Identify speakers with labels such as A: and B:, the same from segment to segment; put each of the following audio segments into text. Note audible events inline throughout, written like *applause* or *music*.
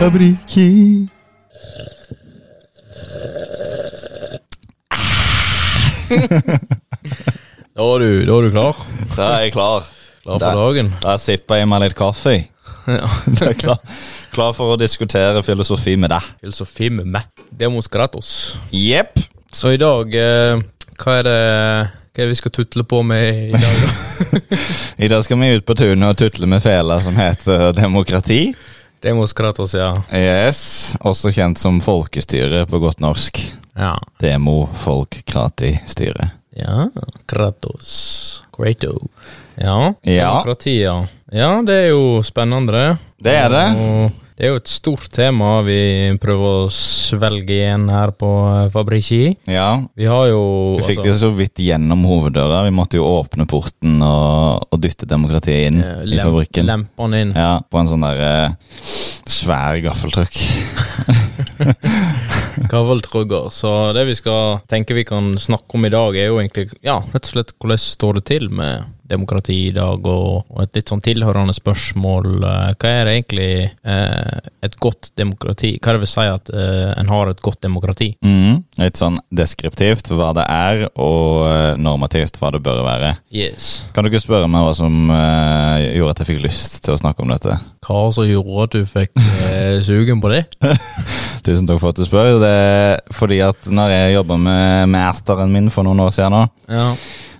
A: Fabrikker
B: Da er du, da er du klar.
A: Da er jeg klar.
B: Klar
A: Der.
B: for dagen.
A: Da sipper jeg *laughs* meg litt kaffe.
B: Ja.
A: Jeg er klar, klar for å diskutere filosofi med deg.
B: Filosofi med meg. Demos gratos.
A: Jepp.
B: Så i dag, eh, hva er det hva er det vi skal tutle på med i dag? da?
A: *laughs* I dag skal vi ut på tunet og tutle med fela som heter demokrati.
B: Demos gratos, ja.
A: Yes. Også kjent som folkestyre på godt norsk.
B: Ja.
A: Demo-folk-krati-styre.
B: ja. Kratos. Krato. Ja.
A: Ja.
B: Demokrati, ja. Ja, det er jo spennende. det.
A: Det er det.
B: Og det er jo et stort tema vi prøver å svelge igjen her på eh, Fabrici.
A: Ja.
B: Vi har jo
A: Vi fikk
B: altså,
A: det så vidt gjennom hoveddøra. Vi måtte jo åpne porten og, og dytte demokratiet inn
B: eh,
A: i
B: lem-
A: fabrikken.
B: lempe han inn.
A: Ja, på en sånn der eh, svær gaffeltrykk.
B: Gaveltrugger. Så det vi skal tenke vi kan snakke om i dag, er jo egentlig ja, rett og slett hvordan står det til med demokrati i dag, og, og et litt sånn tilhørende spørsmål. eh, Hva er det egentlig eh, et godt demokrati? Hva er det vil si at eh, en har et godt demokrati?
A: Mhm, Litt sånn deskriptivt hva det er, og eh, normativt hva det bør være.
B: Yes.
A: Kan du ikke spørre meg hva som eh, gjorde at jeg fikk lyst til å snakke om dette?
B: Hva som gjorde at du fikk eh, sugen på det?
A: Tusen takk for at du spør. Det er fordi at når jeg jobba med masteren min for noen år siden, nå,
B: Ja.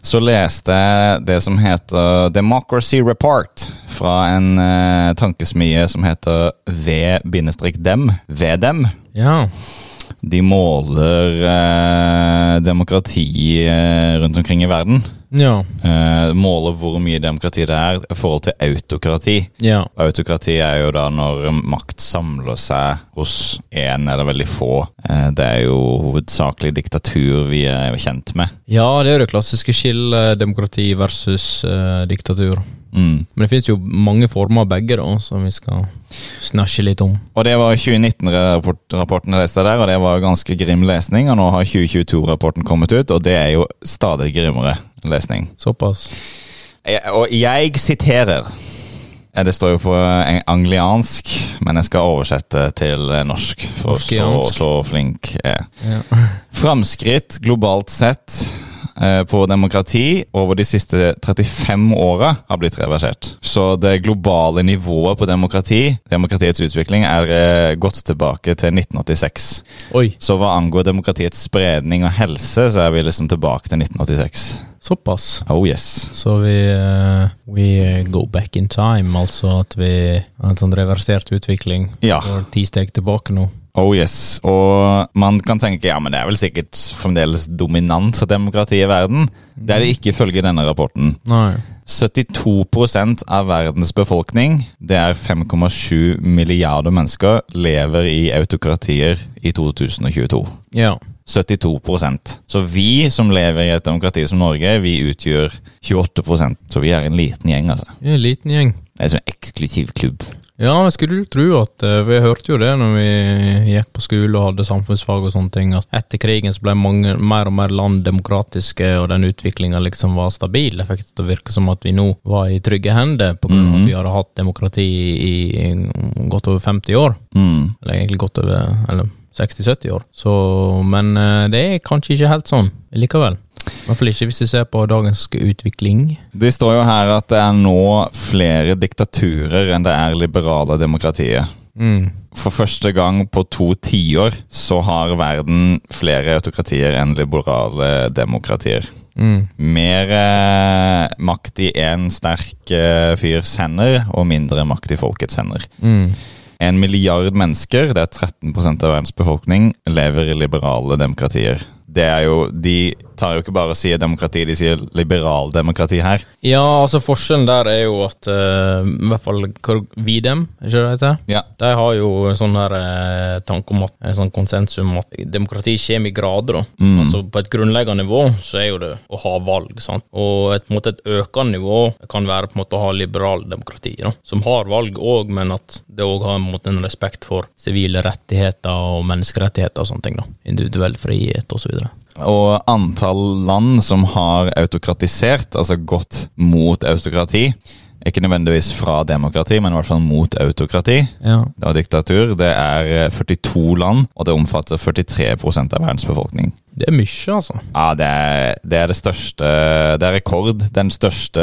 A: så leste jeg det som heter Democracy Report fra en eh, tankesmie som heter V-dem. Vedem.
B: ja.
A: De måler eh, demokrati eh, rundt omkring i verden.
B: Ja.
A: Eh, måler hvor mye demokrati det er i forhold til autokrati.
B: Ja.
A: Autokrati er jo da når makt samler seg hos én eller veldig få. Eh, Det er jo hovedsakelig diktatur vi er kjent med.
B: Ja, det er jo det klassiske skillet demokrati versus eh, diktatur.
A: Mm.
B: Men det finnes jo mange former av begge, da, som vi skal snakke litt om.
A: Og det var 2019-rapporten jeg leste der, og det var ganske grim lesning. Og nå har 2022-rapporten kommet ut, og det er jo stadig grimmere lesning.
B: Såpass.
A: Jeg, og jeg siterer. Eh, Det står jo på eh, angliansk, men jeg skal oversette til eh, norsk. For så,
B: Norskiansk.
A: så flink jeg er.
B: Ja.
A: Framskritt globalt sett eh, på demokrati over de siste 35 åra har blitt reversert. Så det globale nivået på demokrati, demokratiets utvikling, er eh, gått tilbake til 1986.
B: Oi,
A: Så hva angår demokratiets spredning og helse, så er vi liksom tilbake til 1986.
B: såpass.
A: Oh yes.
B: Så vi, eh, vi eh, go back in time, altså at vi har en sånn reversert utvikling.
A: Ja.
B: Går ti steg tilbake nå.
A: Oh yes. Og man kan tenke ja, men det er vel sikkert fremdeles dominant av demokrati i verden. Det er det ikke ifølge denne rapporten.
B: Nei.
A: 72 av verdens befolkning, det er 5,7 milliarder mennesker, lever i autokratier i 2022.
B: Ja.
A: 72 Så vi som lever i et demokrati som Norge, vi utgjør 28 Så vi er en liten gjeng, altså.
B: Vi er en liten gjeng.
A: Det er som en eksklusiv klubb.
B: Ja, men skulle du tro at eh, Vi hørte jo det når vi gikk på skole og hadde samfunnsfag og sånne ting, at etter krigen så ble mange, mer og mer land demokratiske, og den utviklinga liksom var stabil. Det fikk det til å virke som at vi nå var i trygge hender, på grunn av at vi hadde hatt demokrati i, i godt over 50 år.
A: Mm.
B: Eller egentlig godt over eller 60-70 år. Så, men eh, det er kanskje ikke helt sånn likevel. I hvert fall ikke hvis vi ser på dagens utvikling.
A: Det står jo her at det er nå flere diktaturer enn det er liberale demokratier.
B: Mm.
A: For første gang på to tiår så har verden flere autokratier enn liberale demokratier.
B: Mm.
A: Mer eh, makt i én sterk eh, fyrs hender, og mindre makt i folkets hender.
B: Mm.
A: En milliard mennesker, det er 13 av verdens befolkning, lever i liberale demokratier. Det er jo, De tar jo ikke bare og sier demokrati, de sier liberaldemokrati her.
B: Ja, altså forskjellen der er jo at eh, I hvert fall hva- Videm, er ikke det det heter?
A: Ja.
B: De har jo en sånn her eh, tanke om at en sånn konsensum om at demokrati kommer i grader. da.
A: Mm.
B: Altså På et grunnleggende nivå så er jo det å ha valg, sant? og et, på en måte et økende nivå kan være på en måte å ha liberal demokrati, da. som har valg òg, men at det òg har en, måte, en respekt for sivile rettigheter og menneskerettigheter og sånne ting. da. Individuell frihet osv.
A: Og antall land som har autokratisert, altså gått mot autokrati Ikke nødvendigvis fra demokrati, men i hvert fall mot autokrati
B: Ja.
A: og diktatur. Det er eh, 42 land, og det omfatter 43 av verdens befolkning.
B: Det er mye, altså.
A: Ja, det er, det er det største Det er rekord. Den største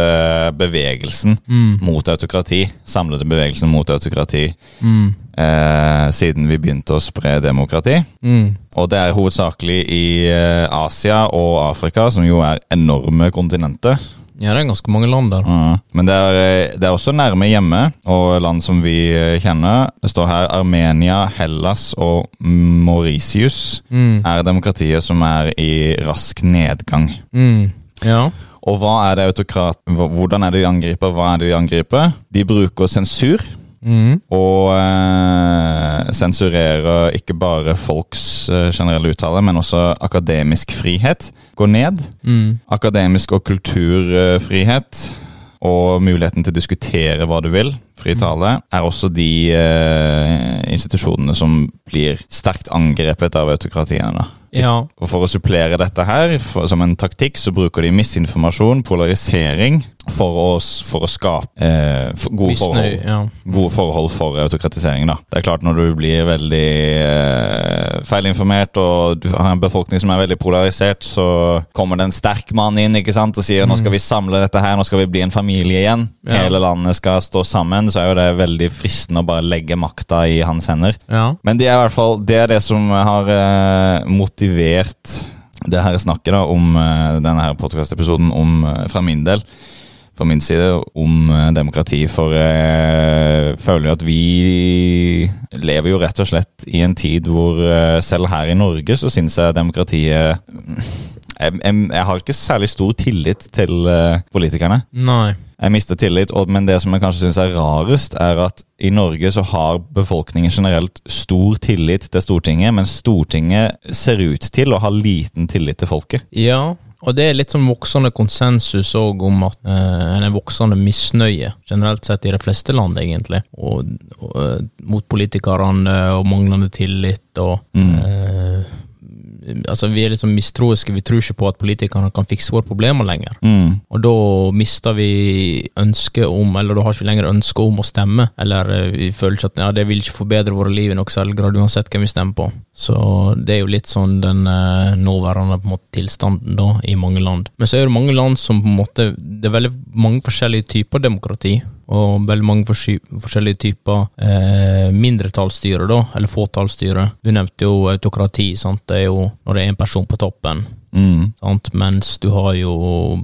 A: bevegelsen mot autokrati, samlede bevegelsen mot autokrati,
B: Mm.
A: eh, siden vi begynte å spre demokrati.
B: Mm.
A: Og det er hovedsakelig i eh, Asia og Afrika, som jo er enorme kontinenter.
B: Ja, det er ganske mange land der.
A: Mm. Men det er, eh, det er også nærme hjemme og land som vi eh, kjenner. Det står her Armenia, Hellas og Mauritius
B: Mm.
A: er demokratier som er i rask nedgang.
B: Mm. Ja.
A: Og hva er det autokrat... hva- Hvordan er det de angriper? Hva er det de angriper? De bruker sensur.
B: Mm.
A: Og eh, sensurerer ikke bare folks eh, generelle uttale, men også akademisk frihet går ned.
B: Mm.
A: Akademisk og kulturfrihet og muligheten til å diskutere hva du vil, fri tale, er også de eh, institusjonene som blir sterkt angrepet av autokratiene. da.
B: Ja.
A: Og For å supplere dette her, for, som en taktikk, så bruker de misinformasjon, polarisering, for å, s- for å skape eh, f- gode
B: Misnøy.
A: forhold.
B: Ja.
A: Gode forhold for autokratisering, da. Det er klart når du blir veldig eh, feilinformert, og du har en befolkning som er veldig polarisert, så kommer det en sterk mann inn ikke sant, og sier nå skal vi samle dette her, nå skal vi bli en familie igjen.
B: Ja.
A: Hele landet skal stå sammen. Så er jo det veldig fristende å bare legge makta i hans hender.
B: ja.
A: Men det er i hvert fall det, er det som har eh, motivert det her snakket da, om eh, denne her podkastepisoden om, eh, fra min del, fra min side, om eh, demokrati. For eh, jeg føler jo at vi lever jo rett og slett i en tid hvor eh, selv her i Norge så syns jeg demokratiet eh, jeg, jeg, jeg har ikke særlig stor tillit til eh, politikerne.
B: Nei.
A: Jeg mister tillit, og, men det som jeg kanskje syns er rarest, er at i Norge så har befolkningen generelt stor tillit til Stortinget, men Stortinget ser ut til å ha liten tillit til folket.
B: Ja, og det er litt sånn voksende konsensus òg om at eh, en er voksende misnøye, generelt sett i de fleste land, egentlig, og, og, eh, mot politikerne og manglende tillit og eh, Altså, vi er liksom mistroiske, vi tror ikke på at politikerne kan fikse våre problemer lenger.
A: Mm.
B: Og da mister vi ønsket om, eller da har ikke vi lenger ønsket om å stemme. Eller eh, vi føler ikke at ja, det vil ikke forbedre våre liv i noen særlig grad, uansett hvem vi stemmer på. Så det er jo litt sånn den eh, nåværende på en måte, tilstanden da, i mange land. Men så er det mange land som på en måte Det er veldig mange forskjellige typer demokrati. Og veldig mange forsy- forskjellige typer eh, mindretallsstyre, da, eller fåtallsstyre. Du nevnte jo autokrati, sant. Det er jo når det er en person på toppen
A: Mm.
B: sant? mens du har jo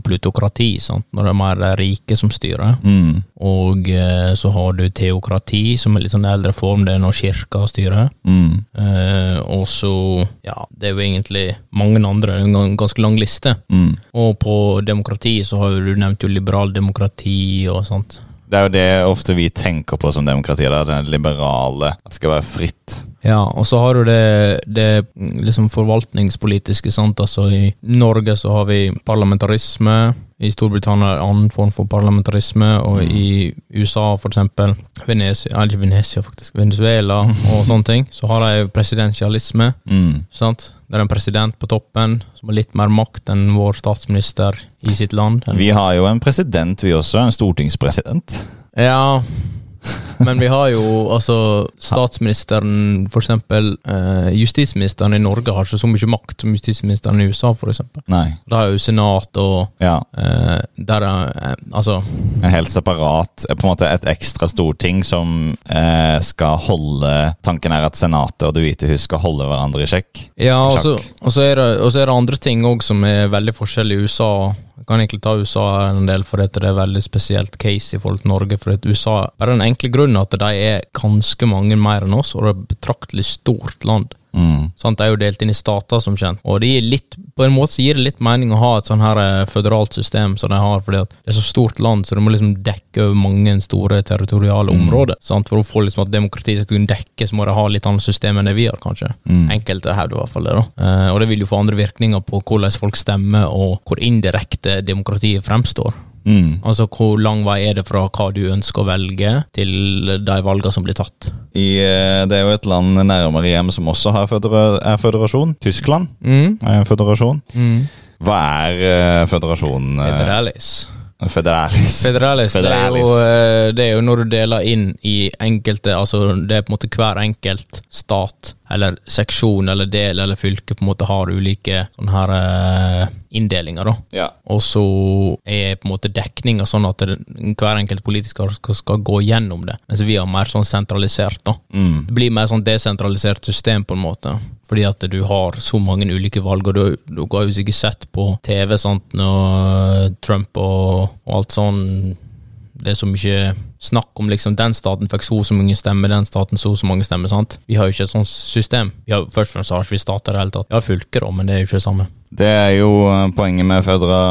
B: plutokrati, sant? når det er mer de rike som styrer.
A: Mm.
B: Og eh, så har du teokrati, som er litt sånn eldre form, det er når kirka styrer.
A: Mm.
B: Eh, og så, ja, det er jo egentlig mange andre, en gan- ganske lang liste.
A: Mm.
B: Og på demokrati så har jo du nevnt jo liberal demokrati og sånt.
A: Det er jo det ofte vi tenker på som demokrati, da, det liberale, at det skal være fritt.
B: Ja, og så har du det, det liksom forvaltningspolitiske, sant. Altså i Norge så har vi parlamentarisme, i Storbritannia er det annen form for parlamentarisme, og i USA for eksempel Venezia, eller ikke Venezia faktisk, Venezuela og sånne ting, så har de presidensialisme,
A: Mm.
B: sant. Det er en president på toppen som har litt mer makt enn vår statsminister i sitt land.
A: Vi har jo en president, vi også. En stortingspresident.
B: Ja, men vi har jo altså statsministeren, for eksempel eh, justisministeren i Norge har ikke så mye makt som justisministeren i USA, for eksempel.
A: Nei.
B: Da er jo senat og
A: Ja.
B: eh, der er eh, Altså,
A: En helt separat, på en måte et ekstra storting som eh, skal holde Tanken er at Senatet og Det hvite hus skal holde hverandre i sjekk.
B: ja, og så,
A: Sjakk.
B: og så er, det- og så er det andre ting òg som er veldig forskjellig i USA. Jeg kan egentlig ta USA en del, for at det er veldig spesielt case i forhold til Norge. For at USA er den enkle grunnen at de er ganske mange mer enn oss, og det er et betraktelig stort land.
A: Mm.
B: Sant, det er jo delt inn i stater, som kjent. Og det gir litt, på en måte så gir det litt mening å ha et sånn her eh, føderalt system som de har, fordi at det er så stort land, så du må liksom dekke over mange store territoriale områder. Sant? For å få liksom at demokratiet skal kunne dekke, så må de ha litt annet system enn det vi har, kanskje. Enkelte hevder i hvert fall det, da. Eh, og det vil jo få andre virkninger på hvordan folk stemmer, og hvor indirekte demokratiet fremstår.
A: Mm.
B: Altså hvor lang vei er det fra hva du ønsker å velge, til de valgene som blir tatt.
A: I, eh, det er jo et land nærmere hjem som også har fødera er føderasjon. Tyskland er en føderasjon. Hva er eh, føderasjonen? eh?
B: Federalis.
A: Federalis.
B: Federalis, Det, er jo, eh, det er jo når du deler inn i enkelte Altså det er på en måte hver enkelt stat eller seksjon eller del eller fylke på en måte har ulike sånne her eh, inndelinger, da.
A: Ja.
B: Og så er på en måte dekninga sånn at det, hver enkelt politiker skal, skal gå gjennom det. Mens vi har mer sånn sentralisert, da.
A: Mm.
B: Det blir mer sånn desentralisert system, på en måte. Fordi at du har så mange ulike valg, og du, du har jo sikkert sett på TV sant, når Trump og, og alt sånn Det er så mye snakk om liksom den staten fikk så og så mange stemmer, den staten så og så mange stemmer. sant? Vi har jo ikke et sånt system. Vi har, først og fremst har ikke vi stater i det hele tatt. Vi har fylker, da, men det er jo ikke det samme.
A: Det er jo eh, poenget med fødera,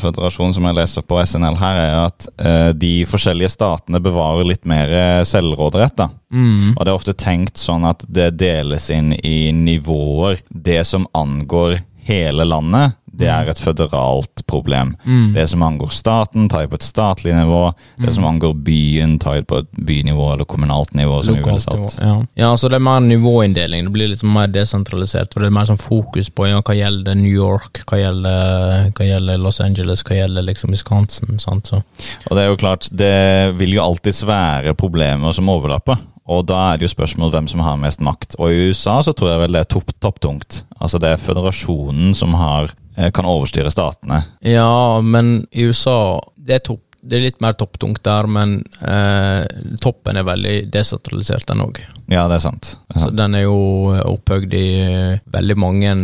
A: føderasjonen som jeg leser på SNL her, er at eh, de forskjellige statene bevarer litt mer eh, selvråderett. da.
B: Mhm.
A: Og det er ofte tenkt sånn at det deles inn i nivåer. Det som angår hele landet, det
B: Mhm.
A: er et føderalt problem. Det som angår staten, tar jeg på et statlig nivå.
B: Mhm.
A: Det som angår byen, tar jeg på et bynivå eller kommunalt nivå. som vi ville
B: Lokalt
A: sagt.
B: nivå, Ja. ja, så det er mer nivåinndeling. Det blir litt mer desentralisert. For det er mer sånn fokus på ja, hva gjelder New York, hva gjelder, hva gjelder Los Angeles, hva gjelder liksom Wisconsin. Sant? Så.
A: Og det er jo klart, det vil jo alltids være problemer som overlapper. Og da er det jo spørsmål hvem som har mest makt. Og i USA så tror jeg vel det er topp- topptungt. altså det er føderasjonen som har, eh, kan overstyre statene.
B: Ja, men i USA Det er, topp, det er litt mer topptungt der, men eh, toppen er veldig desentralisert, den òg.
A: Ja, det er sant. Det er
B: Så
A: sant.
B: den er jo opphøyd i eh, veldig mange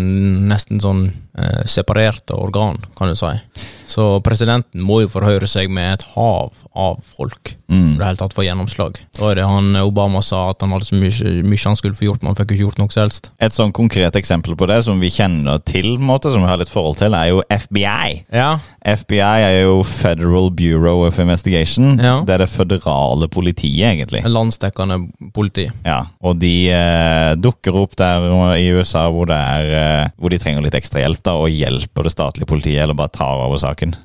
B: nesten sånn eh, separerte organ, kan du si. Så presidenten må jo forhøre seg med et hav av folk i
A: Mm.
B: det hele tatt få gjennomslag. Da er det han Obama sa at han hadde så mye, mye han skulle få gjort, men han fikk jo ikke gjort noe som helst.
A: Et sånn konkret eksempel på det, som vi kjenner til, på en måte, som vi har litt forhold til, er jo FBI.
B: Ja.
A: FBI er jo Federal Bureau of Investigation.
B: Ja.
A: Det er det føderale politiet, egentlig.
B: Landsdekkende politi.
A: Ja, og de eh, dukker opp der i USA hvor, det er, eh, hvor de trenger litt ekstra hjelp, da, og hjelper det statlige politiet, eller bare tar over saken.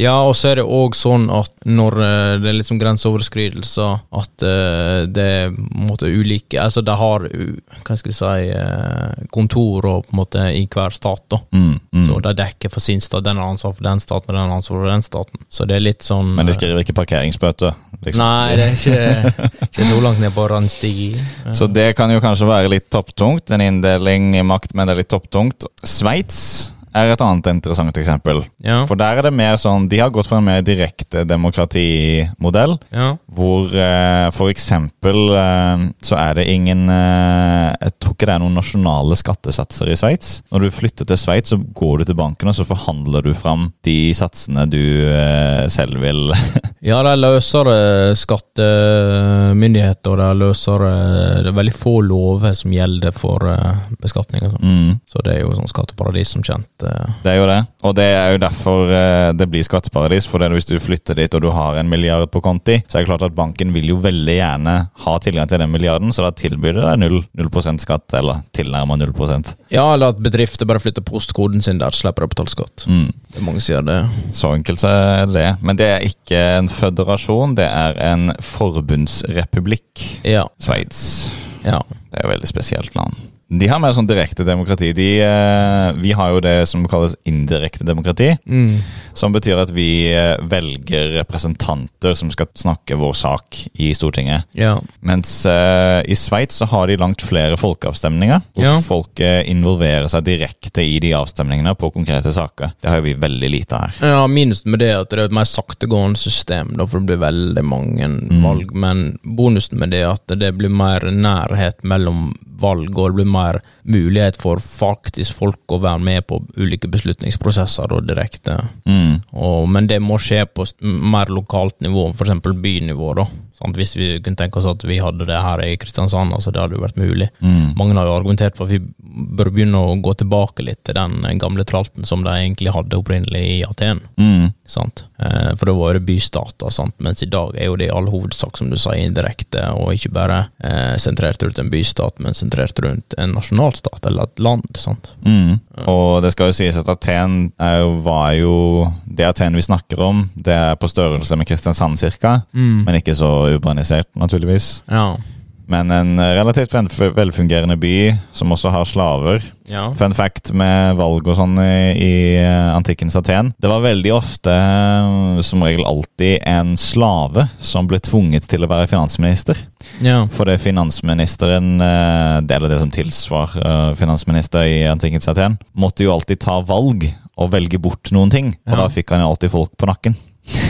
B: Ja, og så er det òg sånn at når eh, det er liksom grenseoverskridelser, at eh, det er på en måte ulike Altså de har u- hva skal jeg si, eh, kontor og på en måte i hver stat, da.
A: Mm, mm.
B: Så de dekker for sin stat, den har ansvar for den staten, og den har ansvar for den staten. Så det er litt sånn
A: Men de
B: eh,
A: skriver ikke parkeringsbøter. Liksom.
B: Nei, det er ikke,
A: *laughs*
B: ikke så langt ned på randstigen.
A: Så det kan jo kanskje være litt topptungt, en inndeling i makt, men det er litt topptungt. Sveits er et annet interessant eksempel.
B: Ja.
A: For der er det mer sånn, De har gått for en mer direkte demokratimodell.
B: Ja.
A: Hvor eh, for eksempel eh, så er det ingen eh, Jeg tror ikke det er noen nasjonale skattesatser i Sveits. Når du flytter til Sveits, så går du til banken og så forhandler du fram de satsene du eh, selv vil *laughs*
B: ja, det er løsere skattemyndigheter, og det er løsere Det er veldig få lover som gjelder for eh, beskatning og sånn.
A: mm.
B: Så det er jo sånn skatteparadis som kjent. eh.
A: Det er jo det. Og det er jo derfor eh, det blir skatteparadis. For det er hvis du flytter dit og du har en milliard på konti, så er det klart at banken vil jo veldig gjerne ha tilgang til den milliarden, så da tilbyr de deg null- 0 skatt, eller tilnærma 0
B: Ja, eller at bedrifter bare flytter postkoden sin der, slipper å betale skatt.
A: mm.
B: Det er mange som gjør det.
A: Så enkelt så er det det. Men det er ikke en føderasjon, det er en forbundsrepublikk.
B: Ja.
A: Sveits.
B: ja.
A: Det er et veldig spesielt land. De har mer sånn direkte demokrati. De, eh, vi har jo det som kalles indirekte demokrati.
B: Mm.
A: Som betyr at vi eh, velger representanter som skal snakke vår sak i Stortinget.
B: ja.
A: Mens eh, i Sveits så har de langt flere folkeavstemninger. Hvor
B: Ja.
A: folk eh, involverer seg direkte i de avstemningene på konkrete saker. Det har jo vi veldig lite her.
B: Ja, minus med det at det er et mer saktegående system, da, for det blir veldig mange valg. Men bonusen med det er at det blir mer nærhet mellom valg, og det blir mer mulighet for faktisk folk å være med på ulike beslutningsprosesser og direkte.
A: Mm.
B: Og, men det må skje på st- mer lokalt nivå, f.eks. bynivå. da. Sant? Hvis vi kunne tenke oss at vi hadde det her i Kristiansand, altså det hadde jo vært mulig.
A: Mm.
B: Mange har jo argumentert for at vi bør begynne å gå tilbake litt til den gamle tralten som de egentlig hadde opprinnelig i Aten.
A: Mm.
B: Sant? Eh, For da var det bystater, sant? mens i dag er jo det i all hovedsak, som du sa, indirekte, og ikke bare eh, sentrert rundt en bystat, men sentrert rundt en nasjonalstat eller et land. sant?
A: Mm. Og det skal jo sies at Aten er, jo- var jo Det Aten vi snakker om, det Mm. er på størrelse med Kristiansand ca. Men ikke så urbanisert, naturligvis.
B: Ja.
A: men en relativt ven- velfungerende by som også har slaver.
B: Ja.
A: Fun fact med valg og sånn i, i eh, antikkens Aten. Det var veldig ofte, eh, som regel alltid, en slave som ble tvunget til å være finansminister.
B: ja.
A: For det finansministeren, eh, det- eller det som tilsvar eh, finansminister i antikkens Aten, måtte jo alltid ta valg og velge bort noen ting. Og
B: Ja.
A: da fikk han jo alltid folk på nakken.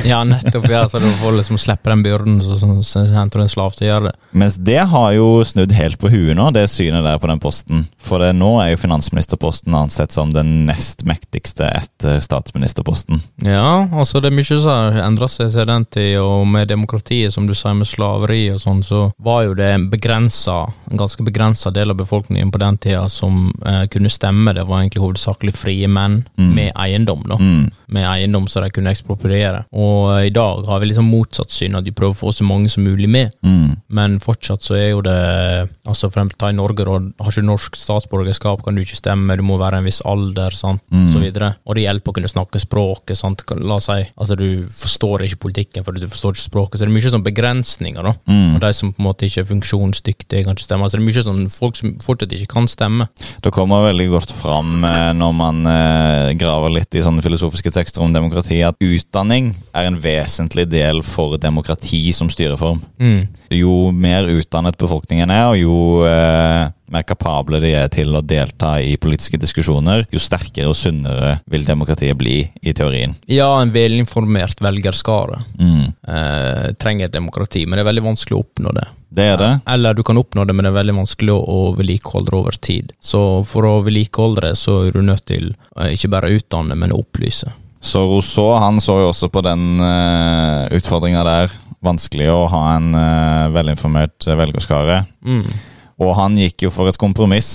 B: Ja, nettopp. ja, Så du får liksom slippe den byrden, så, så, så henter du en slav til å gjøre det.
A: Mens det har jo snudd helt på huet nå, det synet der på den posten. For det, nå er jo finansministerposten ansett som den nest mektigste etter statsministerposten.
B: Ja, altså det er mye som har endra seg siden den tid, og med demokratiet, som du sier, med slaveri og sånn, så var jo det en begrensa, en ganske begrensa del av befolkningen på den tida som eh, kunne stemme. Det var egentlig hovedsakelig frie menn
A: Mm.
B: med eiendom, da.
A: Mm.
B: Med eiendom som de kunne ekspropriere. Og eh, i dag har vi liksom motsatt syn, at vi prøver å få så mange som mulig med.
A: Mm.
B: Men fortsatt så er jo det Altså for eksempel ta i Norge, da. Har ikke du norsk statsborgerskap, kan du ikke stemme, du må være en viss alder, sant,
A: Mm.
B: så videre. Og det hjelper å kunne snakke språket, sant. Kan- La oss si altså du forstår ikke politikken fordi du forstår ikke språket, så det er mye sånn begrensninger, da.
A: Mm.
B: Og de som på en måte ikke er funksjonsdyktige, kan ikke stemme. Altså det er mye sånn folk som fortsatt ikke kan stemme.
A: Det kommer veldig godt fram eh, når man eh, graver litt i sånne filosofiske tekster om demokrati, at utdanning er en vesentlig del for demokrati som styreform.
B: Mm.
A: Jo mer utdannet befolkningen er, og jo eh, mer kapable de er til å delta i politiske diskusjoner, jo sterkere og sunnere vil demokratiet bli i teorien.
B: Ja, en velinformert velgerskare
A: Mm.
B: eh, trenger et demokrati, men det er veldig vanskelig å oppnå det.
A: Det er det.
B: Eller du kan oppnå det, men det er veldig vanskelig å å vedlikeholde det over tid. Så for å vedlikeholde det, så er du nødt til eh, ikke bare å utdanne, men å opplyse.
A: Så Rousseau han så jo også på den uh, utfordringa der. Vanskelig å ha en eh, velinformert eh, velgerskare. Og han gikk jo for et kompromiss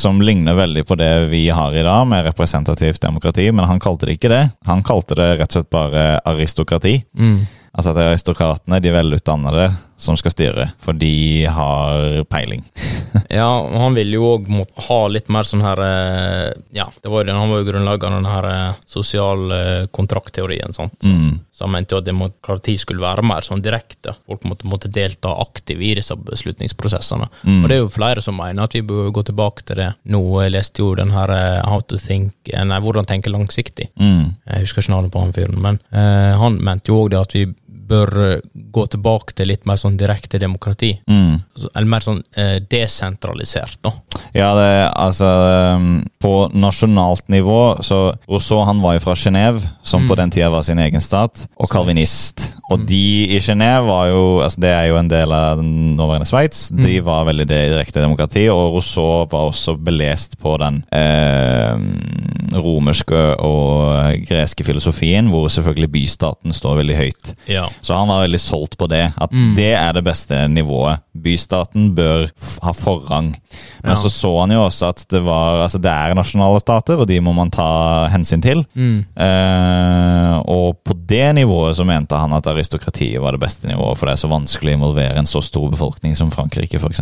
A: som ligner veldig på det vi har i dag, med representativt demokrati, men han kalte det ikke det. Han kalte det rett og slett bare aristokrati.
B: Mm.
A: Altså at det er aristokratene, de velutdannede, som skal styre, for de har peiling. *laughs*
B: Ja, og han ville jo òg ha litt mer sånn her eh, Ja, det var jo den, han var jo grunnlegger av den her eh, sosial eh, kontraktteorien, sant.
A: Mm.
B: Så han mente jo at demokrati skulle være mer sånn direkte. Folk måtte, måtte delta aktivt i disse beslutningsprosessene.
A: Mm.
B: Og det er jo flere som mener at vi bør gå tilbake til det. Nå jeg leste jo den her eh, How to think eh, Nei, hvordan tenke langsiktig.
A: Mm.
B: Jeg husker ikke navnet på han fyren, men eh, han mente jo òg det at vi bør eh, gå tilbake til litt mer sånn direkte demokrati.
A: Mm.
B: Så- Eller mer sånn eh, desentralisert, da.
A: Ja, det, altså um, På nasjonalt nivå så Rousseau han var jo fra Genéve, som
B: Mm.
A: på den tida var sin egen stat, og
B: Sveits.
A: kalvinist. Og
B: Mm.
A: de i Genéve var jo altså Det er jo en del av den nåværende Sveits. De
B: Mm.
A: var veldig det direkte demokrati, og Rousseau var også belest på den eh, romerske og greske filosofien, hvor selvfølgelig bystaten står veldig høyt.
B: Ja.
A: Så han var veldig solgt på det, at
B: Mm.
A: det er det beste nivået. Bystaten bør f ha forrang. Men
B: Ja.
A: så så han jo også at det, var, altså det er nasjonale stater, og de må man ta hensyn til.
B: Mm.
A: Eh, og på det nivået så mente han at aristokratiet var det beste nivået, for det er så vanskelig å involvere en så stor befolkning som Frankrike, f.eks.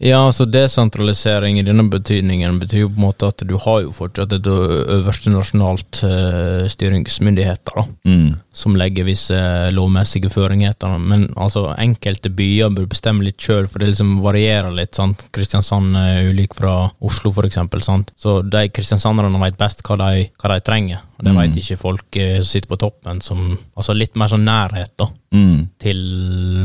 B: Ja, altså desentralisering i denne betydningen betyr jo på en måte at du har jo fortsatt et ø- øverste nasjonalt eh, styringsmyndigheter, da.
A: Mm.
B: Som legger visse eh, lovmessige føringer, etter, da. men altså enkelte byer bør bestemme litt sjøl, for det liksom varierer litt. sant? Kristiansand er ulik fra Oslo, for eksempel. Sant? Så de kristiansanderne vet best hva de, hva de trenger, og det
A: Mm.
B: vet ikke folk eh, som sitter på toppen. Som, altså litt mer sånn nærhet, da
A: Mm.
B: til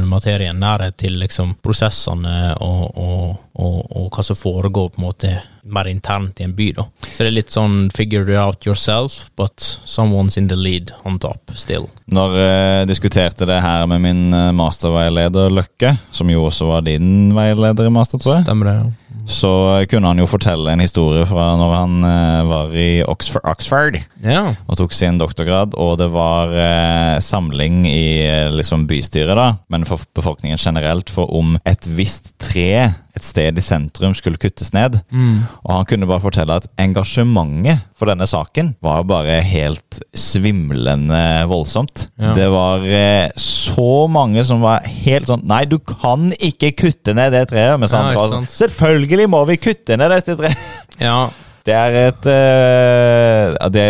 B: materien, nærhet til liksom prosessene og, og, og, og hva som foregår på en måte mer internt i en by. da. Så det er litt sånn figure it out yourself, but someone's in the lead on top still.
A: Når jeg diskuterte det her med min eh, masterveileder Løkke, som jo også var din veileder i master, tror jeg.
B: Stemmer det?
A: så kunne han jo fortelle en historie fra når han eh, var i Oxford, Oxford
B: Ja.
A: og tok sin doktorgrad, og det var eh, samling i eh, liksom bystyret, da, men for befolkningen generelt, for om et visst tre et sted i sentrum skulle kuttes ned.
B: Mm.
A: Og han kunne bare fortelle at engasjementet for denne saken var jo bare helt svimlende voldsomt.
B: Ja.
A: Det var eh, så mange som var helt sånn Nei, du kan ikke kutte ned det treet. Mens
B: Ja,
A: andre
B: ikke
A: var sånn Selvfølgelig må vi kutte ned dette treet. *laughs*
B: ja.
A: Det er et eh, det,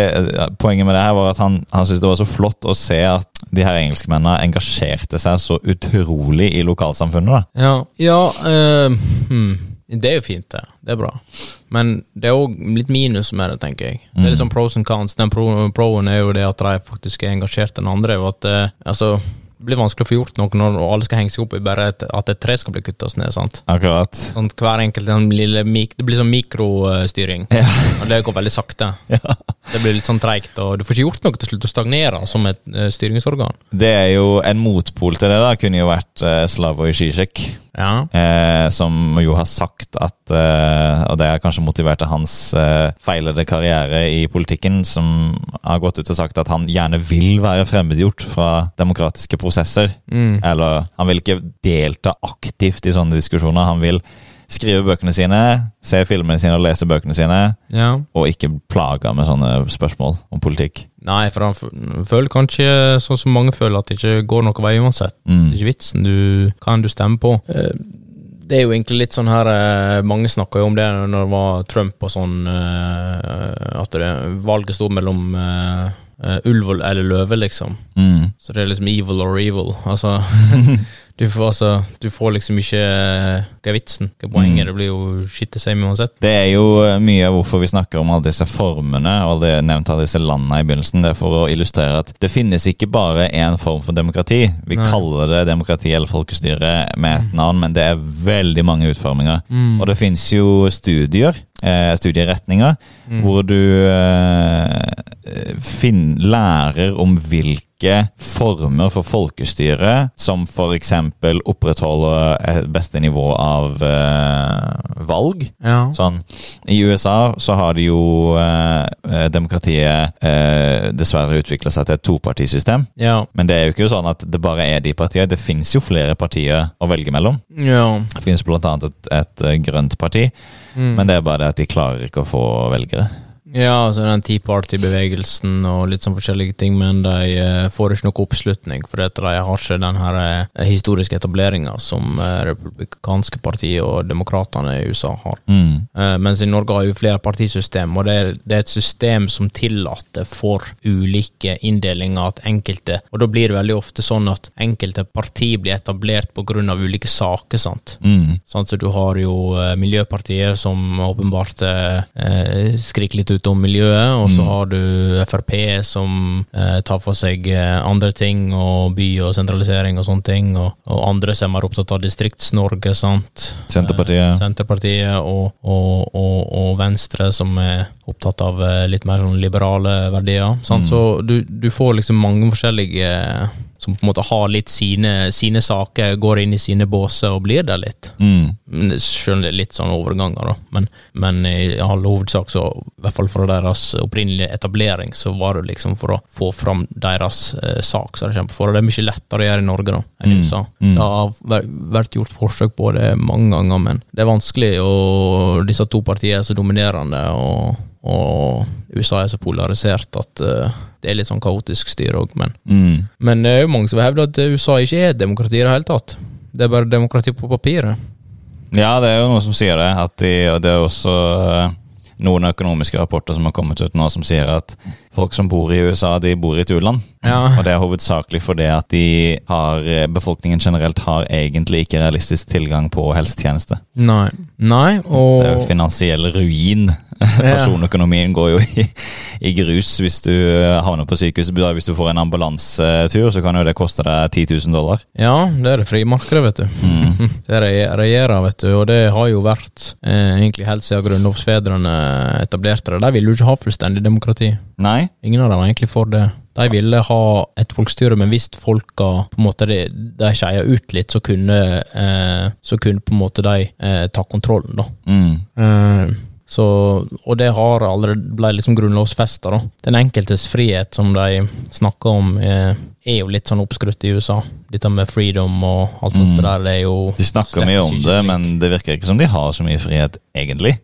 A: Poenget med det her var at han, han syntes det var så flott å se at de her engelskmennene engasjerte seg så utrolig i lokalsamfunnet. da.
B: Ja, ja eh, hmm. Det er jo fint, det. Det er bra. Men det er òg litt minus med det, tenker jeg. Det er liksom pros and cons. Den pro- proen er jo det at de faktisk er engasjert enn andre. Og at eh, altså, det blir vanskelig å få gjort noe når alle skal henge seg opp i bare et, at et tre skal bli kutta ned. sant?
A: Akkurat.
B: Sånn, hver enkelt den lille mik Det blir sånn mikrostyring.
A: Ja.
B: Og det går veldig *laughs* sakte. Det blir litt sånn treigt, og du får ikke gjort noe til slutt. Du stagnerer som et eh, styringsorgan.
A: Det er jo en motpol til det. da, Kunne jo vært eh, Slavoj Zizek,
B: Ja.
A: eh, som jo har sagt at eh, Og det har kanskje motivert til hans eh, feilede karriere i politikken, som har gått ut og sagt at han gjerne vil være fremmedgjort fra demokratiske prosesser.
B: Mm.
A: Eller han vil ikke delta aktivt i sånne diskusjoner. Han vil skrive bøkene sine, se filmene sine og lese bøkene sine,
B: ja.
A: og ikke plage med sånne spørsmål om politikk.
B: Nei, for han f- føler kanskje sånn som mange føler, at det ikke går noen vei uansett. Det
A: Mm.
B: er ikke vitsen. Du, hva enn du stemmer på. Eh, Det er jo egentlig litt sånn her eh, Mange snakka jo om det når det var Trump og sånn, eh, at det, valget sto mellom eh, eh, ulv og- eller løve, liksom.
A: Mm.
B: Så det er liksom evil or evil. Altså, *laughs* du får, altså, du får liksom ikke eh, Hva er vitsen? Hva er poenget?
A: Mm.
B: Det blir jo shit the same uansett.
A: Det er jo eh, mye av hvorfor vi snakker om alle disse formene og det er nevnt av disse landene i begynnelsen. Det er for å illustrere at det finnes ikke bare én form for demokrati. Vi
B: Nei.
A: kaller det demokrati eller folkestyre med et
B: Mm.
A: navn, men det er veldig mange utforminger. Og det finnes jo studier, eh, studieretninger,
B: Mm.
A: hvor du eh, finn, lærer om hvilke former for folkestyre som f.eks. opprettholder et beste nivå av eh, valg.
B: ja.
A: Sånn, I USA så har de jo eh, eh, demokratiet eh, dessverre utvikla seg til et topartisystem.
B: ja.
A: Men det er jo ikke sånn at det bare er de partiene. Det fins jo flere partier å velge mellom.
B: Ja.
A: Det fins bl.a. Et, et eh, grønt parti,
B: Mm.
A: men det er bare det at de klarer ikke å få velgere.
B: Ja, altså den Tea Party-bevegelsen og litt sånn forskjellige ting, men de eh, får ikke noe oppslutning, for at de har ikke den her eh, historiske etableringa som eh, republikanske partier og demokratene i USA har.
A: Mm.
B: Eh, mens i Norge har vi flere partisystem, og det er, det er et system som tillater for ulike inndelinger at enkelte Og da blir det veldig ofte sånn at enkelte parti blir etablert på grunn av ulike saker, sant.
A: Mm.
B: Sant, så Sånn du har jo eh, Miljøpartiet som åpenbart eh, skriker litt ut om miljøet, og så
A: Mm.
B: har du Frp som eh, tar for seg eh, andre ting, og by og sentralisering og sånne ting, og, og andre som er opptatt av Distrikts-Norge, sant. Eh,
A: Senterpartiet.
B: Senterpartiet og, og, og, og Venstre, som er opptatt av eh, litt mer sånn liberale verdier. Sant?
A: Mm.
B: Så du, du får liksom mange forskjellige eh, som på en måte har litt sine, sine saker, går inn i sine båser og blir der litt.
A: Mm.
B: Men det- Selv om det er litt sånn overganger, da. Men, men i all hovedsak, så i hvert fall fra deres opprinnelige etablering, så var det liksom for å få fram deres eh, sak som de kjemper for. Og det er mye lettere å gjøre i Norge da, enn i
A: Mm,
B: USA.
A: mm.
B: Det har vært- vært gjort forsøk på det mange ganger, men det er vanskelig, og disse to partiene er så dominerende, og, og USA er så polarisert at eh, det er litt sånn kaotisk styre òg, men
A: Mm.
B: men det er jo mange som hevder at USA ikke er et demokrati i det hele tatt. Det er bare demokrati på papiret.
A: *laughs* Ja, det er jo noen som sier det. At de, og det er også eh, noen økonomiske rapporter som har kommet ut nå som sier at folk som bor i USA, de bor i et u-land.
B: Ja.
A: Og det er hovedsakelig fordi at de har, eh, befolkningen generelt har egentlig ikke realistisk tilgang på helsetjeneste.
B: Nei. Nei,
A: Det er jo
B: og
A: finansiell ruin. Personøkonomien går jo i, i grus hvis du eh, havner på sykehus. Hvis du får en ambulansetur, så kan jo det koste deg 10 000 dollar.
B: Ja, det er det frie markedet, vet du. Hm.
A: Mm.
B: Det er re- regjerer, vet du, og det har jo vært eh, egentlig helt siden grunnlovsfedrene etablerte det. De ville jo ikke ha fullstendig demokrati.
A: Nei?
B: Ingen av dem var egentlig for det. De ville ha et folkestyre, men hvis folka på en måte de, de skeia ut litt, så kunne, eh, så kunne på en måte de eh, ta kontrollen, da.
A: Mm.
B: Eh, Så, og det har allerede ble liksom grunnlovsfesta, da. Den enkeltes frihet som de snakker om, eh, er jo litt sånn oppskrutt i USA. Dette med freedom og alt sånt
A: Mm.
B: der, det er jo
A: De snakker
B: slett
A: mye om
B: ikke
A: det,
B: slik.
A: men det virker ikke som de har så mye frihet, egentlig.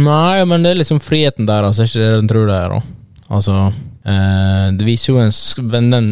B: Nei, men det er liksom friheten der, altså. Ikke det den tror det er, da. Altså eh, Det viser jo en sk- men den,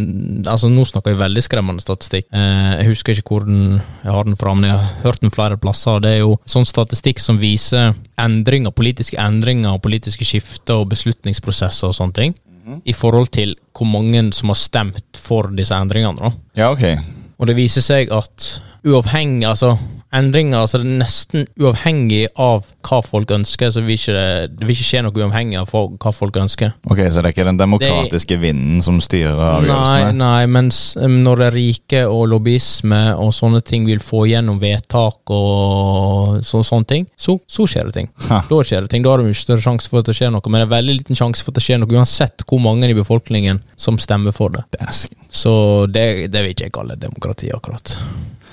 B: Altså, nå snakker jeg veldig skremmende statistikk. Eh, jeg husker ikke hvor den jeg har den fra, men jeg har hørt den flere plasser. Det er jo sånn statistikk som viser endringer, politiske endringer, og politiske skifter og beslutningsprosesser og sånne ting. i forhold til hvor mange som har stemt for disse endringene. da.
A: Ja, ok.
B: Og det viser seg at uavhengig, altså endringer altså det er nesten uavhengig av hva folk ønsker, så vil ikke det, det vil ikke skje noe uavhengig av fo- hva folk ønsker.
A: Ok, Så det er ikke den demokratiske vinden som styrer
B: Nei,
A: avgjørelsene?
B: nei, mens um, når det er rike og lobbyisme og sånne ting vil få gjennom vedtak og så, sånne ting, så, så skjer det ting.
A: Ha.
B: Da skjer det ting, da har du mye større sjanse for at det skjer noe, men det er veldig liten sjanse for at det skjer noe, uansett hvor mange i befolkningen som stemmer for det.
A: Dæsken.
B: Så det, det vil ikke jeg kalle demokrati, akkurat.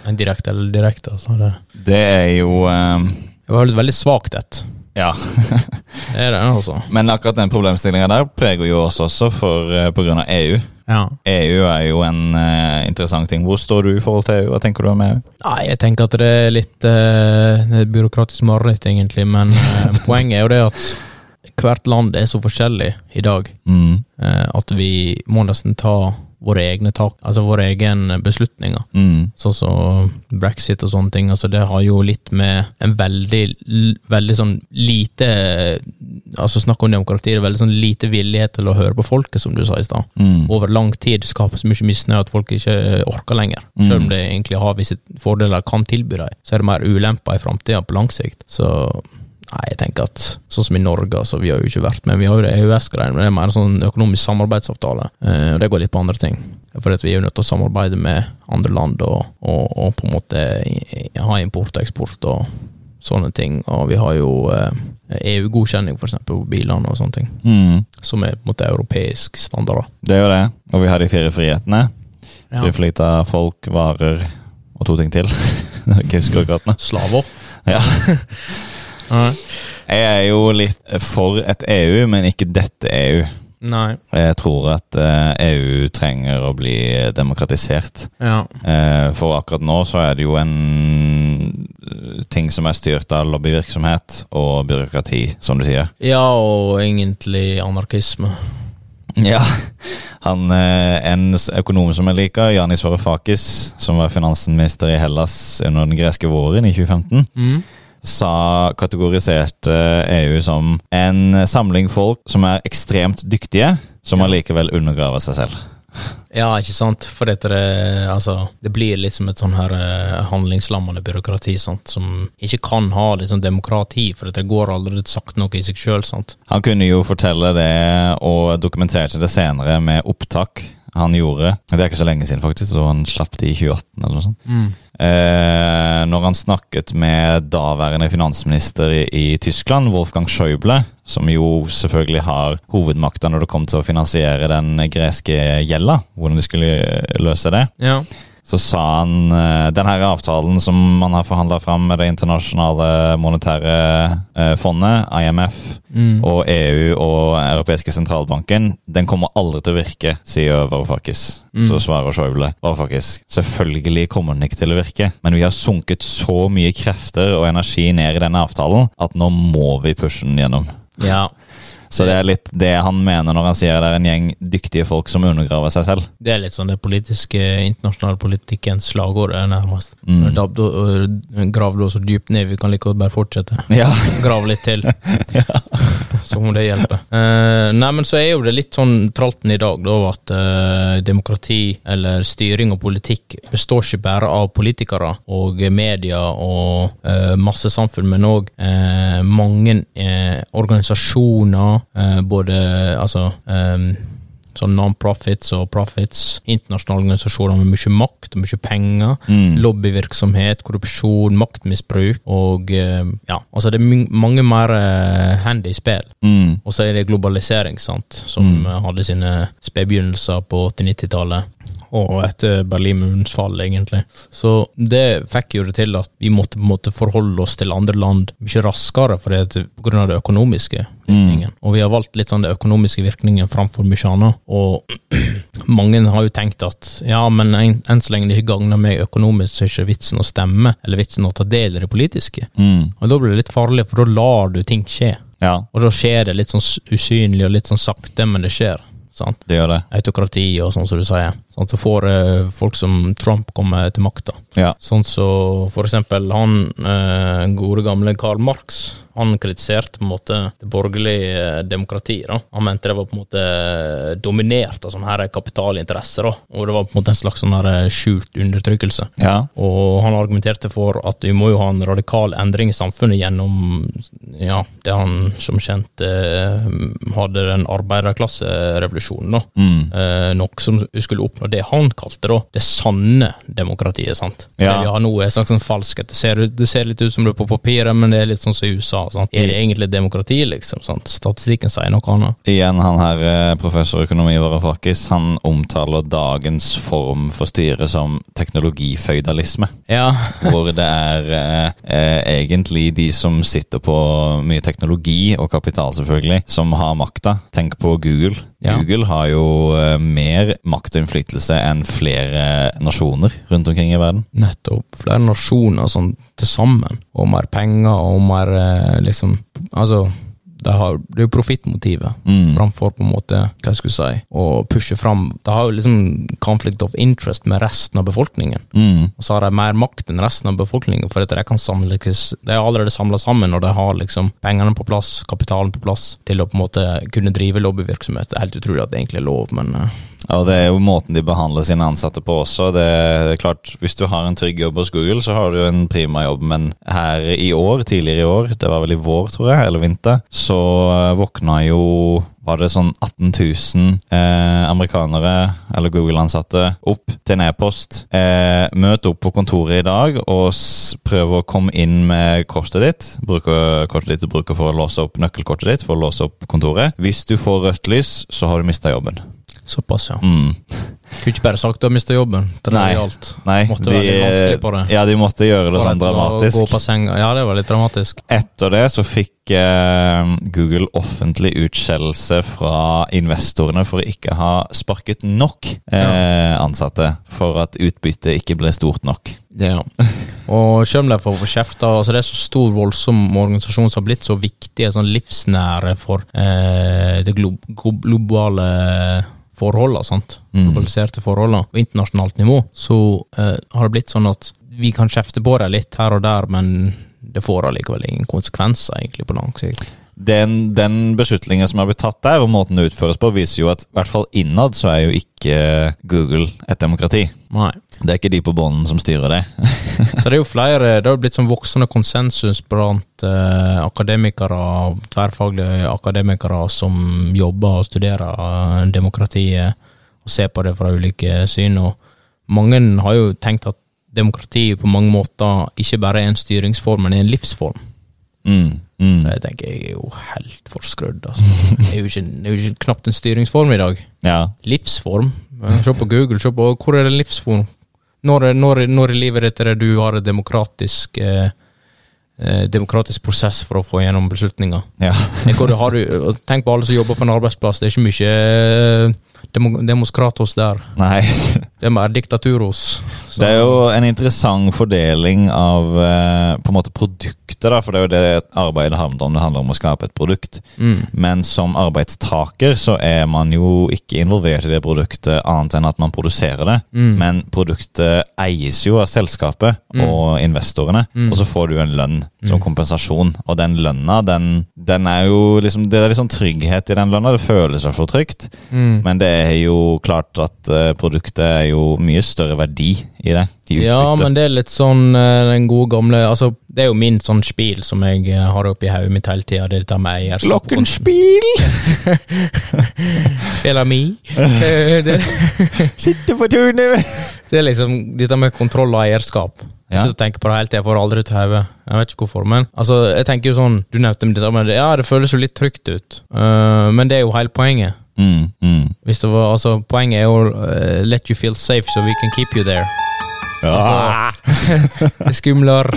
B: Men Direkte eller direkte, altså. Det,
A: Det er jo eh,
B: det var et veldig svakt et.
A: Ja. *laughs*
B: Det er det, altså.
A: Men akkurat den problemstillinga der preger jo oss også, for eh, på grunn av EU.
B: Ja.
A: EU er jo en eh, interessant ting. Hvor står du i forhold til EU? Hva tenker du om E EU?
B: Nei, jeg tenker at det er litt eh, det er et byråkratisk mareritt, egentlig, men eh, poenget er jo det at hvert land er så forskjellig i dag
A: Mm.
B: eh, at vi må nesten ta våre egne tak, altså våre egne beslutninger.
A: Mm.
B: Sånn som brexit og sånne ting. altså Det har jo litt med en veldig l- veldig sånn lite altså Snakk om demokrati, det er veldig sånn lite vilje til å høre på folket, som du sa i stad.
A: Mm.
B: Over lang tid skaper så mye misnøye at folk ikke eh, orker lenger. Selv om det egentlig har visse fordeler kan tilby dem, så er det mer ulemper i framtida på lang sikt. Så nei, jeg tenker at sånn som i Norge, altså vi har jo ikke vært med, vi har jo det EØS-greiene, men det er mer sånn økonomisk samarbeidsavtale, eh, og det går litt på andre ting. For at vi er jo nødt til å samarbeide med andre land og, og, og på en måte i- i- ha import og eksport og sånne ting. Og vi har jo eh, EU-godkjenning for eksempel på bilene og sånne ting,
A: Mm.
B: som er på en måte europeisk standard. da.
A: Det er jo det. Og vi har de fire frihetene.
B: Ja.
A: Fri flyt av folk, varer og to ting til. *laughs* Ikke husker akkurat nå.
B: Slaver.
A: Ja. Jeg er jo litt for et EU, men ikke dette EU.
B: Nei.
A: Jeg tror at eh, EU trenger å bli demokratisert.
B: Ja.
A: Eh, For akkurat nå så er det jo en eh, ting som er styrt av lobbyvirksomhet og byråkrati, som du sier.
B: ja, og egentlig anarkisme.
A: Ja. Han, eh, en s- økonom som jeg liker, Janis Varoufakis, som var finansminister i Hellas under den greske våren i 2015,
B: Mm.
A: sa kategoriserte EU som en samling folk som er ekstremt dyktige, som
B: Ja.
A: allikevel undergraver seg selv.
B: Ja, ikke sant? For dette, er, altså, det blir liksom et sånn her eh, handlingslammende byråkrati sant? som ikke kan ha liksom, demokrati, for dette går aldri sagt noe i seg sjøl.
A: Han kunne jo fortelle det og dokumenterte det senere med opptak han gjorde. Det er ikke så lenge siden, faktisk, så han slapp det i 2018 eller noe sånt.
B: Mm.
A: Eh, når han snakket med daværende finansminister i, i Tyskland, Wolfgang Schäuble, som jo selvfølgelig har hovedmakta når det kom til å finansiere den greske gjelda, hvordan de skulle eh, løse det,
B: Ja.
A: så sa han eh, den her avtalen som man har forhandla fram med det internasjonale monetære eh, fondet, IMF,
B: Mm.
A: og EU og europeiske sentralbanken, den kommer aldri til å virke, sier Varoufakis. Så svarer Schäuble Varoufakis, selvfølgelig kommer den ikke til å virke, men vi har sunket så mye krefter og energi ned i denne avtalen at nå må vi pushe den gjennom.
B: ja.
A: Så det er litt det han mener når han sier det er en gjeng dyktige folk som undergraver seg selv.
B: Det er litt sånn det politiske, internasjonale politikkens slagord, er nærmest. eh,
A: Mm.
B: Dab- og- og Grav det så dypt ned, vi kan like godt bare fortsette.
A: Ja.
B: Grav litt til. Som om det hjelper. Eh, nei, men så er jo det litt sånn tralten i dag, da, at eh, demokrati eller styring og politikk består ikke bare av politikere og media og eh, masse samfunn, men òg mange eh, organisasjoner, eh, både altså eh, Sånn non-profits og profits, internasjonale organisasjoner med mye makt og mye penger,
A: Mm.
B: lobbyvirksomhet, korrupsjon, maktmisbruk og eh, ja, altså det er my- mange mer eh, hand i spill.
A: Mm.
B: Og så er det globalisering, sant, som eh, hadde sine spedbegynnelser på 80-90-tallet. Og etter Berlinmurens fall, egentlig. Så det fikk jo det til at vi måtte på en måte forholde oss til andre land mye raskere fordi at, på grunn av det økonomiske
A: Mm.
B: virkningen. Og vi har valgt litt sånn det økonomiske virkningen framfor mye annet. Og *clears throat* mange har jo tenkt at ja, men en, enn så lenge det ikke gagner meg økonomisk, så er ikke vitsen å stemme, eller vitsen å ta del i det politiske.
A: Mm.
B: Og da blir det litt farlig, for da lar du ting skje.
A: Ja,
B: Og da skjer det litt sånn s- usynlig og litt sånn sakte, men det skjer. Sant?
A: det gjør det.
B: Autokrati og sånn som du sier. Sånn at du får eh, folk som Trump kommer til makta.
A: Ja.
B: Sånn så for eksempel han eh, gode gamle Karl Marx. Han kritiserte på en måte det borgerlige eh, demokratiet. da. Han mente det var på en måte eh, dominert av sånne her kapitalinteresser. da. Og det var på en måte en slags sånn her eh, skjult undertrykkelse.
A: ja.
B: Og han argumenterte for at vi må jo ha en radikal endring i samfunnet gjennom ja, det han som kjent eh, hadde den arbeiderklasserevolusjonen. da.
A: Mm.
B: Eh, noe som skulle oppnå det han kalte da, det sanne demokratiet. sant?
A: Ja.
B: Det vi har nå er slags sånn falskhet. Det ser, ut- det ser litt ut som det er på papiret, men det er litt sånn som i USA. sant? Er det egentlig demokrati, liksom? sant? Statistikken sier noe annet.
A: Igjen han her, eh, professor i økonomi Varoufakis, han omtaler dagens form for styre som teknologiføydalisme.
B: Ja,
A: Hvor det er eh, eh, egentlig de som sitter på mye teknologi og kapital, selvfølgelig, som har makta. Tenk på Google.
B: Ja.
A: Google har jo eh, mer makt og innflytelse enn flere nasjoner rundt omkring i verden.
B: Nettopp. Flere nasjoner sånn til sammen, og mer penger og mer eh, liksom Altså, det, har, det er jo profittmotivet.
A: Mm.
B: Framfor på en måte, hva jeg skulle si, å pushe fram Det har jo liksom conflict of interest med resten av befolkningen.
A: Mm.
B: Og så har de mer makt enn resten av befolkningen, for at de kan samles De er allerede samla sammen, og de har liksom pengene på plass, kapitalen på plass, til å på en måte kunne drive lobbyvirksomhet. Det er helt utrolig at det egentlig er lov, men eh,
A: Ja, og det er jo måten de behandler sine ansatte på også. Det er klart, Hvis du har en trygg jobb hos Google, så har du jo en prima jobb, men her i år, tidligere i år, det var vel i vår, tror jeg, eller vinter, så eh, våkna jo var det sånn 18 000 eh, amerikanere, eller Google-ansatte, opp til en e-post. Eh, møt opp på kontoret i dag og s prøv å komme inn med kortet ditt. Bruker kortet ditt du bruker for å låse opp nøkkelkortet ditt for å låse opp kontoret. Hvis du får rødt lys, så har du mista jobben.
B: såpass, ja.
A: Mm.
B: Kunne ikke bare sagt du har mista jobben. Det
A: Nei.
B: er alt.
A: Nei,
B: Måtte være litt vanskelig på det.
A: Ja, de måtte gjøre det
B: For
A: sånn
B: at var å Gå
A: dramatisk.
B: på senga. Ja, det var litt dramatisk.
A: Etter det så fikk eh, Google offentlig utskjellelse fra investorene for å ikke ha sparket nok eh, ansatte for at utbyttet ikke ble stort nok.
B: Det, ja. *laughs* Og selv om de får kjefta altså Det er så stor, voldsom organisasjon som har blitt så viktig, sånn livsnære for eh, det glo glo- globale forholda, sant?
A: Mm.
B: globaliserte forholda på internasjonalt nivå, så eh, har det blitt sånn at vi kan kjefte på dem litt her og der, men det får allikevel ingen konsekvenser egentlig på lang sikt.
A: Den, den beslutningen som har blitt tatt der, og måten det utføres på, viser jo at i hvert fall innad så er jo ikke Google et demokrati.
B: Nei.
A: Det er ikke de på bånden som styrer det.
B: Så det er jo flere Det har blitt sånn voksende konsensus blant eh, akademikere, tverrfaglige akademikere som jobber og studerer eh, demokratiet, og ser på det fra ulike syn. Og mange har jo tenkt at demokrati på mange måter ikke bare er en styringsform, men er en livsform.
A: Mm, mm.
B: Det tenker jeg er jo helt forskrudd, altså. Det er jo ikke, det er jo ikke knapt en styringsform i dag.
A: Ja.
B: Livsform? Eh, Se på Google, se på hvor er det livsform? Når, er- når, er- når i livet ditt er det du har en demokratisk eh, eh, demokratisk prosess for å få gjennom beslutninger?
A: ja.
B: Det er hvor du har du- og Tenk på alle som jobber på en arbeidsplass, det er ikke mye eh, demo, demostratos der.
A: Nei.
B: Det er mer diktaturos. Så-
A: Det er jo en interessant fordeling av eh, på en måte produktet, da, for det er jo det arbeidet handler om. Det handler om å skape et produkt.
B: mm.
A: Men som arbeidstaker så er man jo ikke involvert i det produktet annet enn at man produserer det.
B: Mm.
A: Men produktet eies jo av selskapet
B: Mm.
A: og investorene,
B: Mm.
A: og så får du en lønn som
B: Mm.
A: kompensasjon. Og den lønna, den, den er jo liksom Det er litt sånn trygghet i den lønna. Det føles i hvert fall trygt,
B: Mm.
A: men det er jo klart at eh, produktet er jo mye større verdi i det. I utbytte.
B: Ja, men det er litt sånn eh, den gode gamle Altså, det er jo min sånn spil som jeg eh, har oppi hodet mitt hele tida, det er dette med eierskap. og kontroll.
A: Glockenspiel!
B: *laughs*
A: *laughs*
B: Bellamy. Eh, det,
A: Sitter på tunet!
B: det er liksom dette med kontroll og eierskap. Jeg
A: Ja.
B: sitter og tenker på det hele tiden, jeg får det aldri ut av hodet. Jeg vet ikke hvorfor, men altså, jeg tenker jo sånn Du nevnte dette med det, ja, det føles jo litt trygt ut, Eh, men det er jo hele poenget.
A: Mm, mm.
B: Hvis det var, altså, poenget er jo eh, let you feel safe, so we can keep you there.
A: Ja.
B: Altså, *laughs* Det skumler.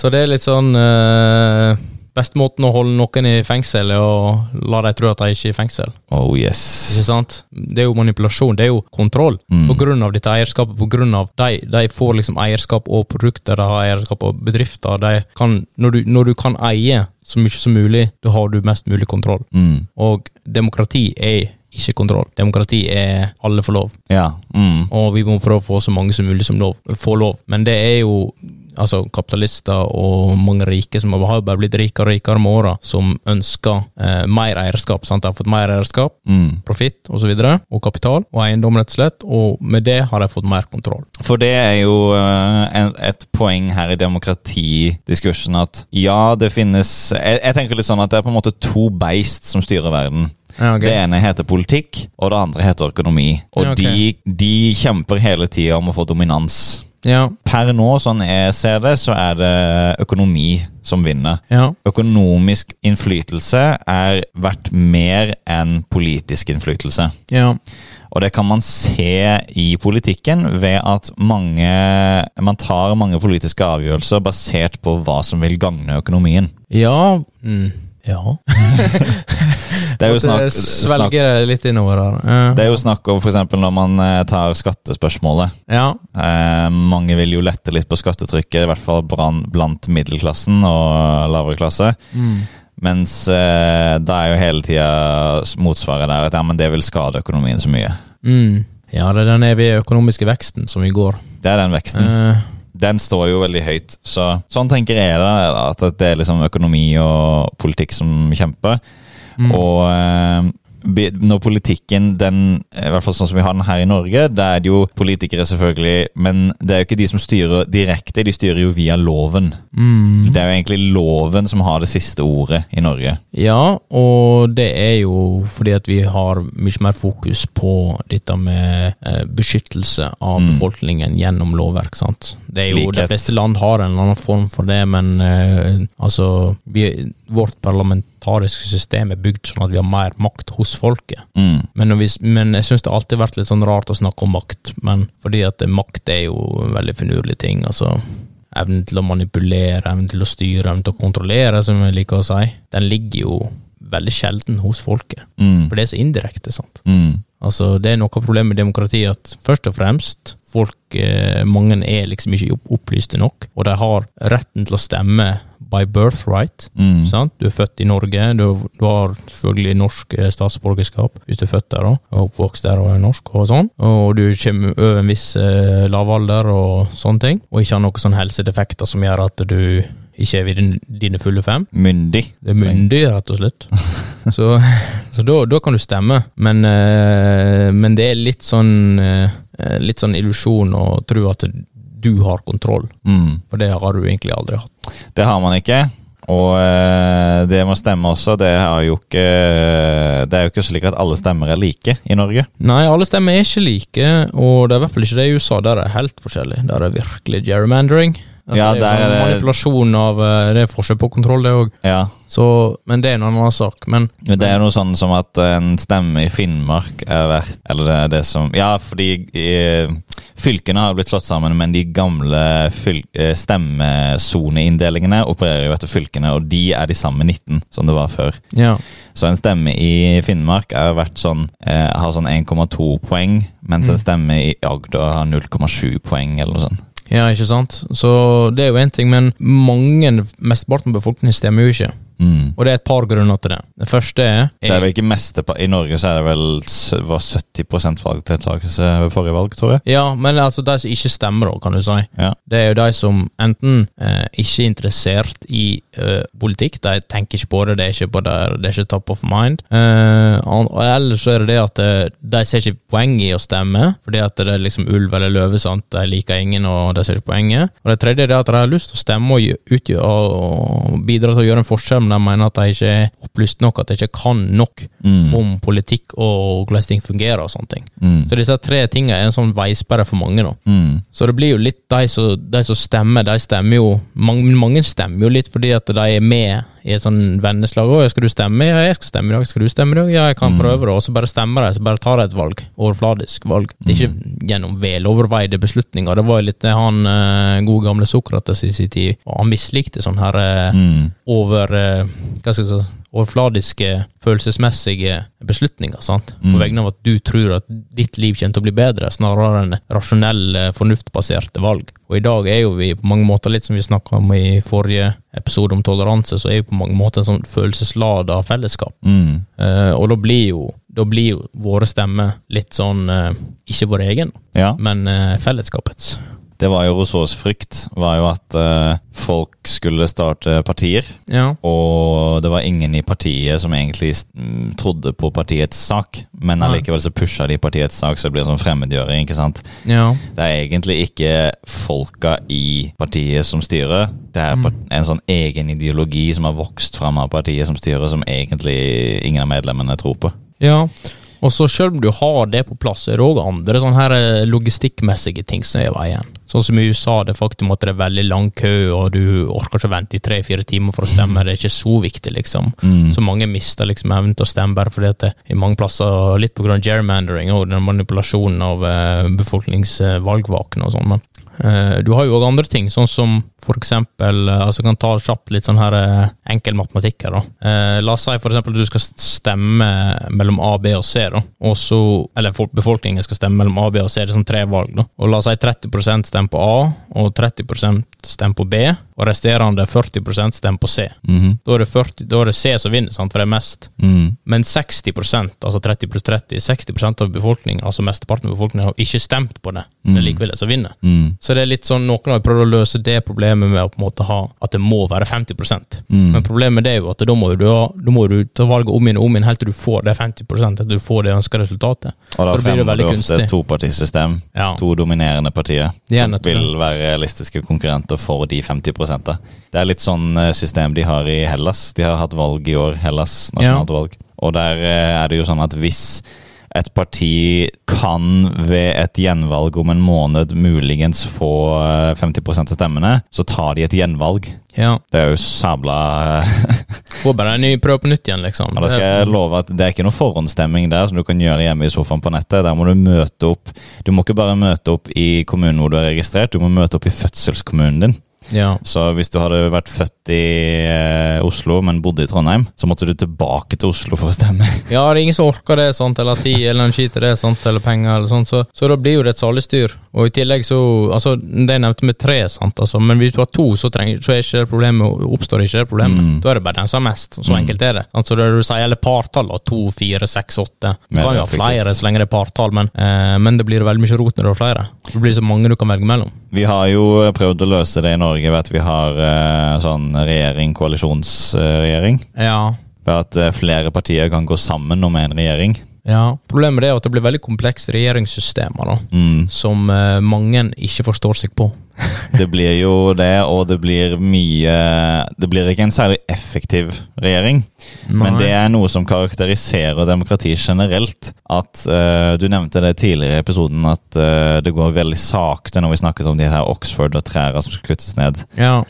B: Så det er litt sånn uh, Best måten å holde noen i fengsel er å la dem tro at de ikke er i fengsel.
A: Oh yes.
B: Ikke sant? Det er jo manipulasjon, det er jo kontroll.
A: Mm.
B: På grunn av dette eierskapet, på grunn av de, de får liksom eierskap og produkter, de har eierskap og bedrifter. De kan, når, du, når du kan eie så mye som mulig, da har du mest mulig kontroll.
A: Mm.
B: Og demokrati er ikke kontroll. Demokrati er alle får lov,
A: Ja. Mm.
B: og vi må prøve å få så mange som mulig som lov, får lov. Men det er jo altså kapitalister og mange rike som har bare blitt rikere og rikere med åra, som ønsker eh, mer eierskap. sant? De har fått mer eierskap,
A: Mm.
B: profitt osv., og, så videre, og kapital og eiendom, rett og slett, og med det har de fått mer kontroll.
A: For det er jo eh, en, et poeng her i demokratidiskursen at ja, det finnes jeg, jeg tenker litt sånn at det er på en måte to beist som styrer verden.
B: Ja,
A: Det ene heter politikk, og det andre heter økonomi. Og
B: Ja, ok.
A: de, de kjemper hele tida om å få dominans.
B: ja,
A: Per nå, sånn jeg ser det, så er det økonomi som vinner.
B: ja.
A: Økonomisk innflytelse er verdt mer enn politisk innflytelse.
B: Ja,
A: Og det kan man se i politikken ved at mange, man tar mange politiske avgjørelser basert på hva som vil gagne økonomien.
B: ja. Mm. ja.
A: Det er jo
B: *laughs*
A: snakk,
B: Jeg
A: snakk,
B: Svelger det litt innover her. Eh,
A: det er jo snakk om f.eks. når man eh, tar skattespørsmålet.
B: ja.
A: Eh, mange vil jo lette litt på skattetrykket, i hvert fall bran- blant middelklassen og lavere klasse.
B: Mm.
A: Mens eh, da er jo hele tida motsvaret der at ja, men det vil skade økonomien så mye.
B: Mm. ja, det er den evige økonomiske veksten som vi går.
A: Det er den veksten.
B: Eh,
A: den står jo veldig høyt. Så, sånn tenker jeg det, da, at det er liksom økonomi og politikk som kjemper.
B: mm.
A: Og eh, be- når politikken, den, i hvert fall sånn som vi har den her i Norge, da er det jo politikere selvfølgelig, men det er jo ikke de som styrer direkte, de styrer jo via loven.
B: Mm.
A: Det er jo egentlig loven som har det siste ordet i Norge.
B: Ja, og det er jo fordi at vi har mye mer fokus på dette med eh, beskyttelse av
A: Mm.
B: befolkningen gjennom lovverk, sant. Det er jo,
A: Likhet.
B: De fleste land har en eller annen form for det, men eh, altså vi, Vårt parlamentariske system er bygd sånn at vi har mer makt hos folket.
A: Mm.
B: Men, når vi, men jeg syns det alltid har vært litt sånn rart å snakke om makt, men fordi at makt er jo en veldig finurlig ting. altså Evnen til å manipulere, evnen til å styre, evnen til å kontrollere, som jeg liker å si, den ligger jo veldig sjelden hos folket.
A: Mm.
B: For det er så indirekte, sant.
A: Mm.
B: Altså, Det er noe av problemet med demokrati at først og fremst folk, eh, mange er liksom ikke opp- opplyste nok, og de har retten til å stemme by birthright.
A: Mm.
B: Sant? Du er født i Norge, du, du har selvfølgelig norsk eh, statsborgerskap hvis du er født der da, og oppvokst der og er norsk og sånn, og du kommer over en viss eh, lav alder og sånne ting, og ikke har noen sånne helsedefekter som gjør at du ikke er ved din, dine fulle fem.
A: Myndig.
B: Det er myndig, rett og slett. Så, så da, da kan du stemme, men, eh, men det er litt sånn, eh, litt sånn illusjon å tro at du har kontroll,
A: Mm.
B: for det har du egentlig aldri hatt.
A: Det har man ikke. Og eh, det må stemme også. Det, har jo ikke, eh, det er jo ikke slik at alle stemmer er like i Norge.
B: Nei, alle stemmer er ikke like, og det er i hvert fall ikke det i USA. Der er det helt forskjellig. Der er det virkelig gerrymandering. Altså,
A: Ja,
B: det er
A: der
B: jo
A: er
B: sånn
A: det-
B: manipulasjon av eh, Det er forskjell på kontroll, det òg.
A: Ja.
B: Men det er en annen sak. Men
A: Men det er noe sånn som at en stemme i Finnmark er verdt Eller det er det som Ja, fordi eh, fylkene har blitt slått sammen, men de gamle fyl- eh, stemmesoneinndelingene opererer jo etter fylkene, og de er de samme 19 som det var før.
B: ja.
A: Så en stemme i Finnmark er verdt sånn, eh, har sånn 1,2 poeng, mens
B: Mm.
A: en stemme i Agder har 0,7 poeng, eller noe sånt.
B: ja, ikke sant? Så det er jo én ting, men mange, mesteparten av befolkningen stemmer jo ikke.
A: Mm.
B: Og det er et par grunner til det. Det første er,
A: Det er vel ikke mestepa- I Norge så er det vel s- var 70 valgdeltakelse ved forrige valg, tror jeg.
B: Ja, men altså de som ikke stemmer, da, kan du si.
A: Ja.
B: Det er jo de som enten eh, ikke er interessert i eh, politikk, de tenker ikke på det, det er ikke, på der, det er ikke top of mind. Eh, an- og ellers så er det det at eh, de ser ikke poeng i å stemme, fordi at det er liksom ulv eller løve, sant? de liker ingen og de ser ikke poenget. Og det tredje er det at de har lyst til å stemme og, gjø- utgjø- og og bidra til å gjøre en forskjell, men de mener at de ikke er opplyst nok, at de ikke kan nok
A: Mm.
B: om politikk og hvordan ting fungerer og sånne ting.
A: Mm.
B: Så disse tre tingene er en sånn veisperre for mange nå.
A: Mm.
B: Så det blir jo litt de som, de som stemmer, de stemmer jo mange, mange stemmer jo litt fordi at de er med i et sånn venneslag. 'Å, skal du stemme? Ja, jeg skal stemme i dag. Skal du stemme i dag? Ja, jeg kan prøve det.' Og så bare stemmer de, så bare tar de et valg. Overfladisk valg. Det er ikke gjennom veloverveide beslutninger. Det var jo litt det han eh, gode gamle Sokrates i sin tid og Han mislikte sånn her eh,
A: Mm.
B: over eh, hva skal jeg si, overfladiske, følelsesmessige beslutninger. sant? På vegne av at du tror at ditt liv kommer til å bli bedre, snarere enn rasjonelle, fornuftbaserte valg. Og i dag er jo vi på mange måter, litt som vi snakka om i forrige episode om toleranse, så er vi på mange måter en sånn følelseslada fellesskap.
A: Mm.
B: Eh, og da blir jo da blir jo våre stemmer litt sånn eh, Ikke vår egen,
A: Ja.
B: men eh, fellesskapets.
A: Det var jo Rousseaus frykt, var jo at eh, folk skulle starte partier,
B: Ja.
A: og det var ingen i partiet som egentlig mm, trodde på partiets sak, men
B: Nei.
A: allikevel så pusha de partiets sak, så det blir sånn fremmedgjøring, ikke sant.
B: ja.
A: Det er egentlig ikke folka i partiet som styrer, det er
B: Mm.
A: part- en sånn egen ideologi som har vokst fram av partiet som styrer, som egentlig ingen av medlemmene tror på.
B: Ja, og så selv om du har det på plass, så er det òg andre sånne her eh, logistikkmessige ting som er i veien. Sånn som i USA, det faktum at det er veldig lang kø, og du orker ikke vente i tre-fire timer for å stemme, det er ikke så viktig, liksom.
A: Mm.
B: Så mange mister liksom evnen til å stemme bare fordi at det i mange plasser, litt på grunn av gerrymandering og den manipulasjonen av eh, befolkningsvalgvakene og sånn, men eh, du har jo òg andre ting, sånn som for eksempel eh, altså jeg kan ta kjapt litt sånn her eh, enkel matematikk her, da. Eh, La oss si for eksempel at du skal stemme mellom A, B og C, da. Og så, eller folk- befolkningen skal stemme mellom A, B og C, det er sånn tre valg, da. Og la oss si 30 stemmer på A, og 30 stemmer på B, og resterende 40 stemmer på C.
A: Mhm.
B: Da er det, 40, da er det C som vinner, sant, for det er mest.
A: Mm.
B: Men 60 altså 30 pluss 30, 60 av befolkningen, altså mesteparten av befolkningen, har ikke stemt på det. Det er likevel det som vinner.
A: Mm.
B: Så det er litt sånn, noen har prøvd å løse det problemet med å på en måte ha at det må være 50
A: Mm.
B: Men problemet det er jo at da må du, ha- da må du ta valget om igjen og om igjen helt til du får det 50 til du får det ønska resultatet.
A: Og da
B: Så det blir jo
A: fremmer du
B: veldig
A: ofte
B: kunstig.
A: et topartisystem.
B: Ja.
A: to dominerende partier
B: Ja,
A: som
B: nettopp.
A: vil være realistiske konkurrenter for de 50 Det er litt sånn eh, system de har i Hellas. De har hatt valg i år, Hellas nasjonalt valg. Og der eh, er det jo sånn at hvis et parti kan ved et gjenvalg om en måned muligens få eh, 50 av stemmene, så tar de et gjenvalg.
B: ja.
A: Det er jo sabla eh,
B: Får bare en ny prøve på nytt igjen, liksom.
A: Ja, da skal jeg love at det er ikke noe forhåndsstemming der som du kan gjøre hjemme i sofaen på nettet. Der må du møte opp. Du må ikke bare møte opp i kommunen hvor du er registrert, du må møte opp i fødselskommunen din.
B: Ja.
A: Så hvis du hadde vært født i eh, Oslo, men bodde i Trondheim, så måtte du tilbake til Oslo for å stemme. *laughs*
B: Ja, det er ingen som orker det, sant, eller har tid eller energi til det, sant, eller penger eller sånt, så, så da blir jo det et salestyr. Og i tillegg så, altså, det jeg nevnte med tre, sant, altså, men hvis du har to, så, trenger, så er ikke det problemet, oppstår ikke det problemet.
A: Mm.
B: Da er det bare den som har mest, så
A: Mm.
B: enkelt er det. Altså, det du sier, eller partall, da, to, fire, seks, åtte. Du
A: Mer
B: kan jo ha
A: effektivt.
B: flere så lenge det er partall, men, eh, men det blir veldig mye rot når du har flere. Det blir så mange du kan velge mellom.
A: Vi har jo prøvd å løse det i Norge ved at vi har eh, sånn regjering, koalisjonsregjering.
B: Ja,
A: Ved at eh, flere partier kan gå sammen om en regjering.
B: ja. Problemet er jo at det blir veldig komplekse regjeringssystemer, da.
A: Mm.
B: Som eh, mange ikke forstår seg på.
A: Det blir jo det, og det blir mye Det blir ikke en særlig effektiv regjering. Men det er noe som karakteriserer demokrati generelt. At eh, Du nevnte det tidligere i episoden at eh, det går veldig sakte når vi snakket om de her Oxford og trærne som skal kuttes ned.
B: Ja.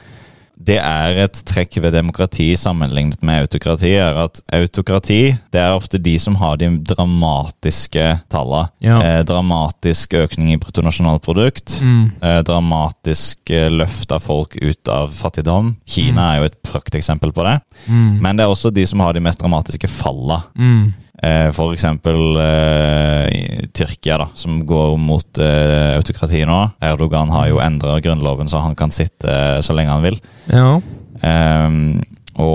A: Det er et trekk ved demokrati sammenlignet med autokrati, er at autokrati det er ofte de som har de dramatiske tallene.
B: Ja.
A: Eh, dramatisk økning i bruttonasjonalprodukt.
B: Mm.
A: Eh, dramatisk eh, løft av folk ut av fattigdom. Kina er jo et prakteksempel på det.
B: Mm.
A: Men det er også de som har de mest dramatiske falla.
B: Mm.
A: Eh, for eksempel eh, i Tyrkia, da, som går mot eh, autokrati nå. Erdogan har jo endra grunnloven, så han kan sitte eh, så lenge han vil.
B: Ja.
A: Ehm,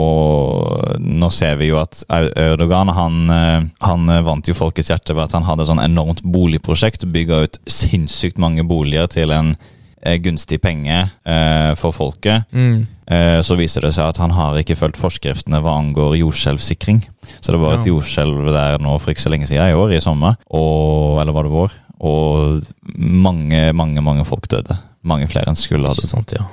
A: og nå ser vi jo at Er- Erdogan han, eh, han eh, vant jo folkets hjerte ved at han hadde sånn enormt boligprosjekt. Bygga ut sinnssykt mange boliger til en eh, gunstig penge eh, for folket.
B: Mm.
A: Eh, Så viser det seg at han har ikke fulgt forskriftene hva angår jordskjelvsikring. Så det var et
B: Ja.
A: jordskjelv der nå for ikke så lenge siden, i år, i sommer. Og, eller var det vår? Og mange, mange mange folk døde. Mange flere enn skulle ha
B: Ikke
A: dødd.
B: sant, ja.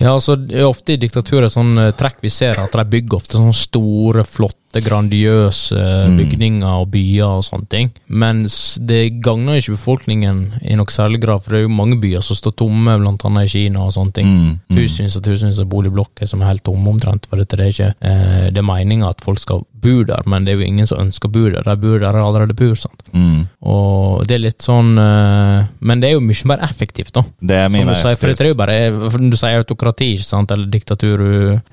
B: Ja, altså, det er ofte i diktaturet sånn eh, trekk vi ser at de bygger ofte sånne store, flotte, grandiøse eh,
A: Mm.
B: bygninger og byer og sånne ting. Mens det gagner ikke befolkningen i nok særlig grad, for det er jo mange byer som står tomme, blant annet i Kina og sånne ting.
A: Mm, mm.
B: Tusenvis og tusenvis av boligblokker som er helt tomme omtrent, for dette det er ikke eh, det er meninga at folk skal bo der, men det er jo ingen som ønsker å bo der. De bor der de allerede bor, sant.
A: Mm.
B: Og det er litt sånn eh, Men det er jo mye mer effektivt, da.
A: Det er mye
B: Som du
A: mer
B: sier, for det er jo
A: effektivt.
B: bare for Du sier autokrati, ikke sant, eller diktatur,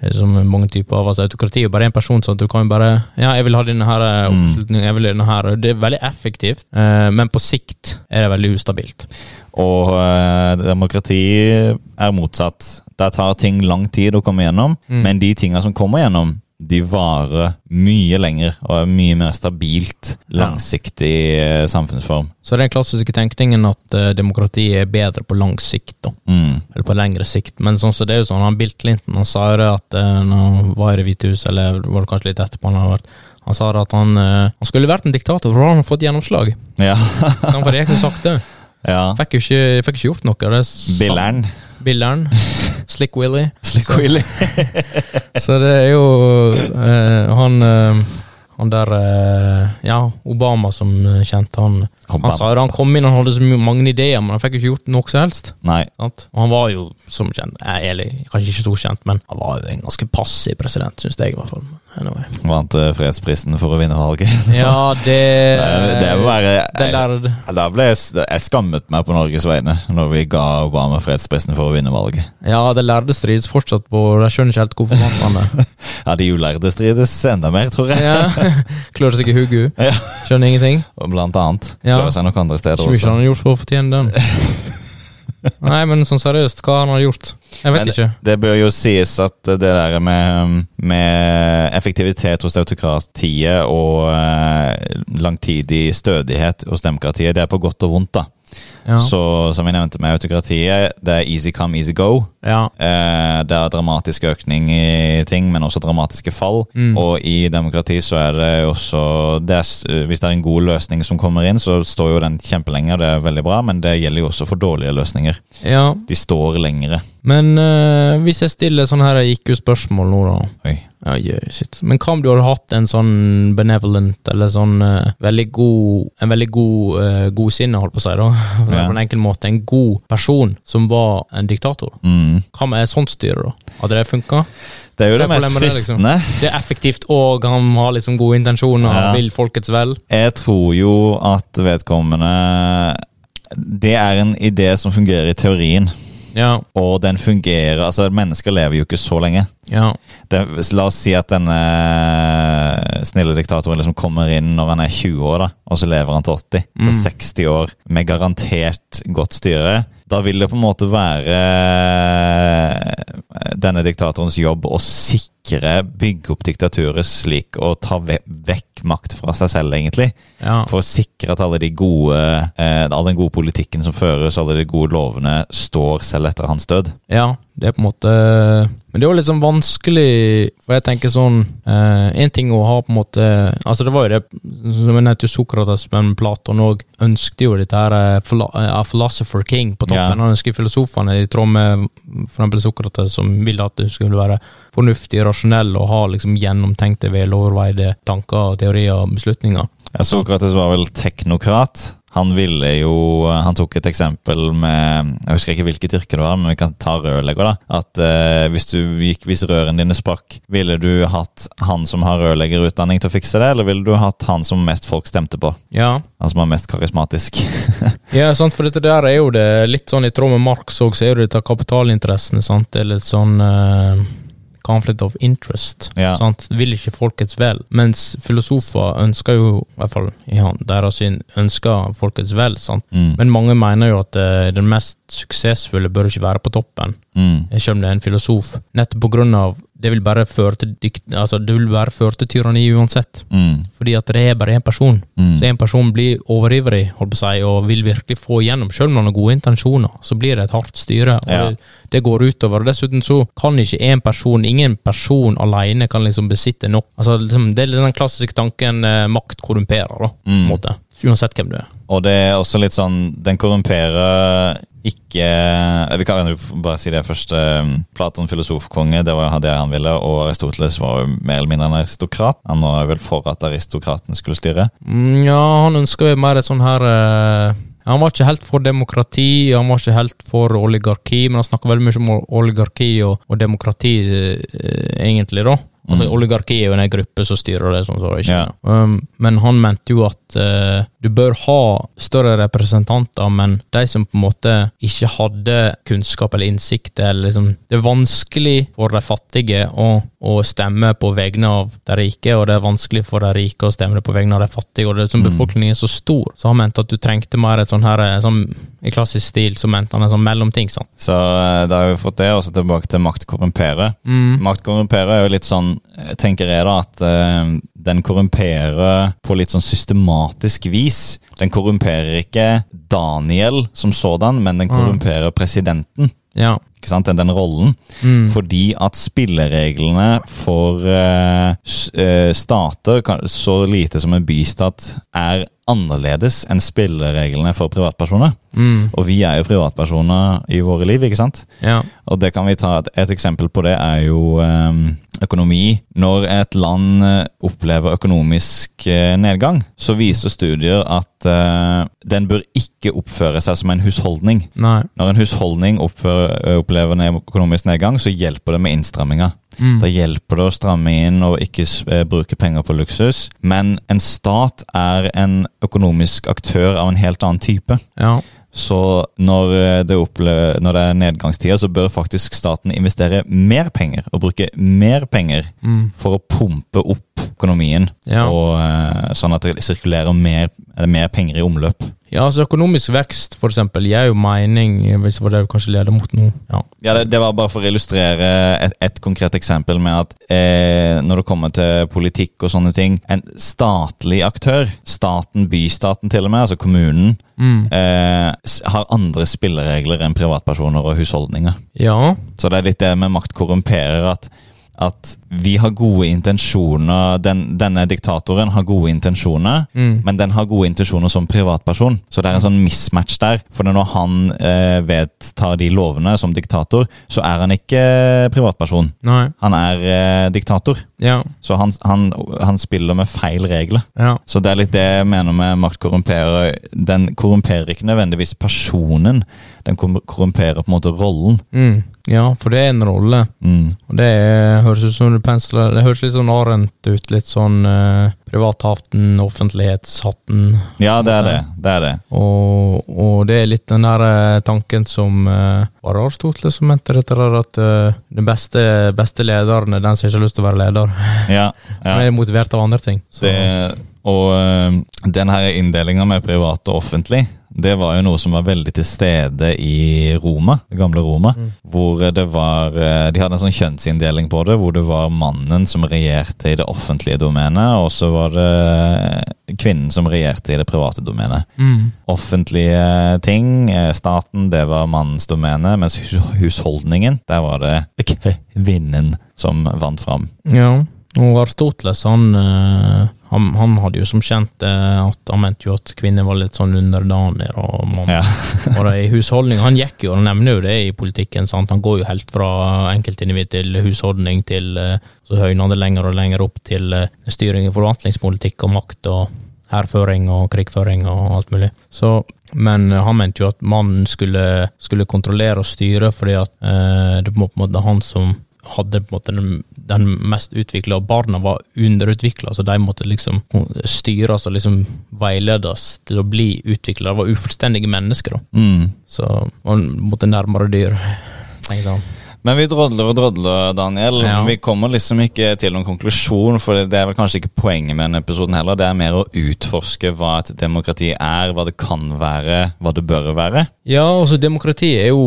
B: eh, som er mange typer av. Altså, autokrati er jo bare én person, sånn at du kan jo bare Ja, jeg vil ha denne her eh,
A: Mm.
B: oppslutningen, jeg vil ha denne her og Det er veldig effektivt, eh, men på sikt er det veldig ustabilt.
A: Og eh, demokrati er motsatt. Der tar ting lang tid å komme gjennom,
B: Mm.
A: men de tinga som kommer gjennom, de varer mye lenger og er mye mer stabilt,
B: Ja.
A: langsiktig eh, samfunnsform.
B: Så det er den klassiske tenkningen at eh, demokratiet er bedre på lang sikt, da.
A: Mm.
B: Eller på lengre sikt. Men sånn som det er jo sånn, han Bill Clinton han sa jo det at eh, når han var i Det hvite huset, eller var det kanskje litt etterpå han har vært Han sa det at han, eh, han skulle vært en diktator, for da hadde han fått gjennomslag.
A: Ja.
B: Så Han var egentlig sagt det.
A: ja.
B: Fikk jo ikke, fikk ikke gjort noe. det sa-
A: Billeren.
B: Billeren. Slick Willy.
A: Slick Willy.
B: Så det er jo eh, han eh, han der eh, Ja, Obama som eh, kjente han. Han sa jo da han kom inn, han hadde så mye- mange ideer, men han fikk jo ikke gjort noe som helst.
A: Nei.
B: Sant? Og han var jo som kjent, eh, eller kanskje ikke så kjent, men han var jo en ganske passiv president, syns jeg i hvert fall. Anyway.
A: Vant eh, fredsprisen for å vinne valget. *laughs*
B: Ja, *laughs* det
A: Nei, det er bare
B: Det lærde.
A: Da ble jeg, jeg skammet meg på Norges vegne når vi ga Obama fredsprisen for å vinne valget.
B: Ja, det lærde strides fortsatt på og Jeg skjønner ikke helt hvorfor vant han *laughs* det.
A: Ja, de ulærde strides enda mer, tror jeg.
B: Ja. *laughs* Klør seg i hodet.
A: Ja.
B: Skjønner ingenting.
A: Og Blant annet.
B: Ja.
A: Klarer seg nok andre steder
B: Ikke mye
A: også.
B: han har gjort for å fortjene den. *laughs* Nei, men sånn seriøst, hva han har gjort? Jeg vet
A: Men-
B: ikke.
A: Det bør jo sies at det der med, med effektivitet hos autokratiet og eh, langtidig stødighet hos demokratiet, det er på godt og vondt, da.
B: Ja.
A: Så som jeg nevnte med autokratiet, det er easy come, easy go.
B: ja.
A: Eh, Det er dramatisk økning i ting, men også dramatiske fall.
B: Mm.
A: Og i demokrati så er det jo også det er, s- Hvis det er en god løsning som kommer inn, så står jo den kjempelenge, og det er veldig bra, men det gjelder jo også for dårlige løsninger.
B: ja.
A: De står lengre.
B: Men eh, hvis jeg stiller sånne her IQ-spørsmål nå, da.
A: Oi.
B: Ja, jøy, shit. Men hva om du hadde hatt en sånn benevolent, eller sånn eh, veldig god En veldig god uh, godsinne, holdt på å si, da. *laughs* For
A: Ja.
B: På en enkel måte. En god person som var en diktator.
A: Mm.
B: Hva med et sånt styre, da? Hadde det funka?
A: Det er jo
B: Hva
A: det
B: er
A: mest
B: problemet med det, liksom?
A: fristende.
B: Det er effektivt, og han har liksom gode intensjoner,
A: Ja.
B: han vil folkets vel.
A: Jeg tror jo at vedkommende Det er en idé som fungerer i teorien,
B: Ja.
A: og den fungerer Altså, mennesker lever jo ikke så lenge.
B: Ja.
A: det, la oss si at denne snille diktatoren liksom kommer inn når han er 20 år, da, og så lever han til 80.
B: Mm.
A: Til 60 år med garantert godt styre. Da vil det på en måte være eh, denne diktatorens jobb å sikre, bygge opp diktaturet slik og ta ve vekk makt fra seg selv, egentlig.
B: ja.
A: For å sikre at alle de gode, eh, all den gode politikken som føres, alle de gode lovene, står selv etter hans død.
B: Ja, det er på en måte Men det er jo litt sånn vanskelig, for jeg tenker sånn Én ting å ha på en måte Altså, det var jo det Som jeg nevnte, jo Sokrates, men Platon òg ønsket jo dette her eh, philo- eh, A philosopher king på toppen.
A: Ja.
B: Han ønsket filosofene i tråd med for eksempel Sokrates, som ville at du skulle være fornuftig, rasjonell og ha liksom gjennomtenkte, veloverveide tanker, teorier og beslutninger.
A: Ja, Sokrates var vel teknokrat. Han ville jo eh, Han tok et eksempel med Jeg husker ikke hvilket yrke det var, men vi kan ta rørlegger, da. At eh, hvis, du gikk, hvis rørene dine sprakk, ville du hatt han som har rørleggerutdanning til å fikse det, eller ville du hatt han som mest folk stemte på?
B: Ja.
A: Han som var mest karismatisk? *laughs*
B: Ja, sant, for dette der er jo det litt sånn i tråd med Marx òg, så er det dette kapitalinteressene, sant. Det er litt sånn eh, conflict of interest.
A: Ja.
B: Sant? Vil ikke folkets vel. Mens filosofer ønsker jo, i hvert fall i han- deres syn, ønsker folkets vel, sant.
A: Mm.
B: Men mange mener jo at eh, den mest suksessfulle bør ikke være på toppen,
A: Mm.
B: selv om det er en filosof. Nettopp på grunn av det vil bare føre til, dikt, altså, det vil bare føre til tyranni uansett.
A: Mm.
B: Fordi at det er bare én person.
A: Mm.
B: Så en person blir overivrig holdt på å si, og vil virkelig få igjennom, selv om han har gode intensjoner, så blir det et hardt styre. og
A: Ja.
B: det, det går utover. og Dessuten så kan ikke en person, ingen person alene kan liksom besitte nok. Altså, liksom, det er litt den klassiske tanken eh, makt korrumperer, da, på en
A: Mm.
B: måte. Uansett hvem du er.
A: Og det er også litt sånn Den korrumperer ikke eh, Vi kan jo bare si det først. eh, Platon, filosofkonge, det var det han ville. Og Aristoteles var jo mer eller mindre en aristokrat. Han var vel for at aristokratene skulle styre.
B: Mm, Ja, han ønsker jo mer et sånn her eh, Han var ikke helt for demokrati, han var ikke helt for oligarki, men han snakker veldig mye om ol- oligarki og, og demokrati, eh, egentlig, da. Altså
A: Mm.
B: Oligarki er jo en gruppe som styrer det, sånn som det ikke
A: Ja.
B: Um, Men han mente jo at eh, Du bør ha større representanter, men de som på en måte ikke hadde kunnskap eller innsikt eller liksom, Det er vanskelig for de fattige å, å stemme på vegne av de rike, og det er vanskelig for de rike å stemme på vegne av de fattige. og det, som Befolkningen er så stor, så han mente at du trengte mer et sånn her eh, sånn, I klassisk stil så mente han en sånn mellomting. sant?
A: Så eh, da har vi fått det, og så tilbake til makt korrumperer. Makt korrumperer er jo litt sånn, eh, tenker jeg da, at eh, den korrumperer på litt sånn systematisk vis. Den korrumperer ikke Daniel som sådan, men den korrumperer presidenten.
B: Ja.
A: Ikke sant? Den, den rollen.
B: Mm.
A: Fordi at spillereglene for eh, s- eh, stater, kan- så lite som en bystat, er annerledes enn spillereglene for privatpersoner.
B: Mm.
A: Og vi er jo privatpersoner i våre liv, ikke sant?
B: Ja.
A: Og det kan vi ta et, et eksempel på det er jo eh, økonomi. Når et land eh, opplever økonomisk eh, nedgang, så viser studier at eh, den bør ikke oppføre seg som en husholdning.
B: Nei.
A: Når en husholdning oppfører, opplever en økonomisk nedgang, så hjelper det med innstramminger.
B: Mm.
A: Da hjelper det å stramme inn og ikke s- eh, bruke penger på luksus. Men en stat er en økonomisk aktør av en helt annen type.
B: Ja.
A: Så når eh, det, opple- når det er nedgangstider, så bør faktisk staten investere mer penger og bruke mer penger
B: Mm.
A: for å pumpe opp økonomien,
B: Ja.
A: og, eh, sånn at det sirkulerer mer, eller mer penger i omløp.
B: Ja, altså økonomisk vekst for eksempel gir jo mening, hvis det var det du kanskje leder mot nå. Ja.
A: Ja, det, det var bare for å illustrere et, et konkret eksempel med at eh, når det kommer til politikk og sånne ting, en statlig aktør, staten, bystaten til og med, altså kommunen,
B: Mm.
A: eh, s- har andre spilleregler enn privatpersoner og husholdninger.
B: Ja.
A: Så det er litt det med makt korrumperer at at vi har gode intensjoner, den, denne diktatoren har gode intensjoner,
B: Mm.
A: men den har gode intensjoner som privatperson. Så det er en sånn mismatch der. For når han eh, vedtar de lovene som diktator, så er han ikke eh, privatperson.
B: Nei.
A: Han er eh, diktator.
B: Ja.
A: Så han, han, han spiller med feil regler.
B: Ja.
A: Så det er litt det jeg mener med makt korrumperer. Den korrumperer ikke nødvendigvis personen, den korrum- korrumperer på en måte rollen.
B: Mm. Ja, for det er en rolle.
A: Mm.
B: Og det er, høres ut som du pensler Det høres litt sånn Arendt ut. Litt sånn eh, privathatten, offentlighetshatten.
A: Ja, det er det. det, er det.
B: Og, og det er litt den der eh, tanken som eh, Var det Aristoteles som mente dette der, at eh, den beste, beste lederen er den som ikke har lyst til å være leder?
A: Ja, ja.
B: *laughs* Han er motivert av andre ting. Så.
A: Det, og eh, den her inndelinga med privat og offentlig, det var jo noe som var veldig til stede i Roma, det gamle Roma. Hvor det var eh, De hadde en sånn kjønnsinndeling på det, hvor det var mannen som regjerte i det offentlige domenet, og så var det eh, kvinnen som regjerte i det private domenet.
B: Mm.
A: Offentlige ting, eh, staten, det var mannens domene, mens hus husholdningen, der var det kvinnen som vant fram.
B: Ja, og Aristoteles han, eh, han, han hadde jo som kjent eh, at han mente jo at kvinner var litt sånn underdaner og mann. *laughs*
A: Ja.
B: og det i husholdning. Han gikk jo, han nevner jo det i politikken, sant? han går jo helt fra enkeltindivid til husholdning til eh, så høyner han det lenger og lenger opp til eh, styring i forvaltningspolitikk og makt og hærføring og krigføring og alt mulig. Så, men eh, han mente jo at mannen skulle, skulle kontrollere og styre, fordi at eh, det var på en måte han som hadde på en måte den, den mest utvikla, og barna var underutvikla, så de måtte liksom styres og liksom veiledes til å bli utvikla. De var ufullstendige mennesker, da.
A: Mm.
B: Så man måtte nærmere dyr, tenkte han.
A: Men vi drodler og drodler, Daniel.
B: Ja.
A: Vi kommer liksom ikke til noen konklusjon, for det er vel kanskje ikke poenget med denne episoden heller. Det er mer å utforske hva et demokrati er, hva det kan være, hva det bør være.
B: Ja, altså demokrati er jo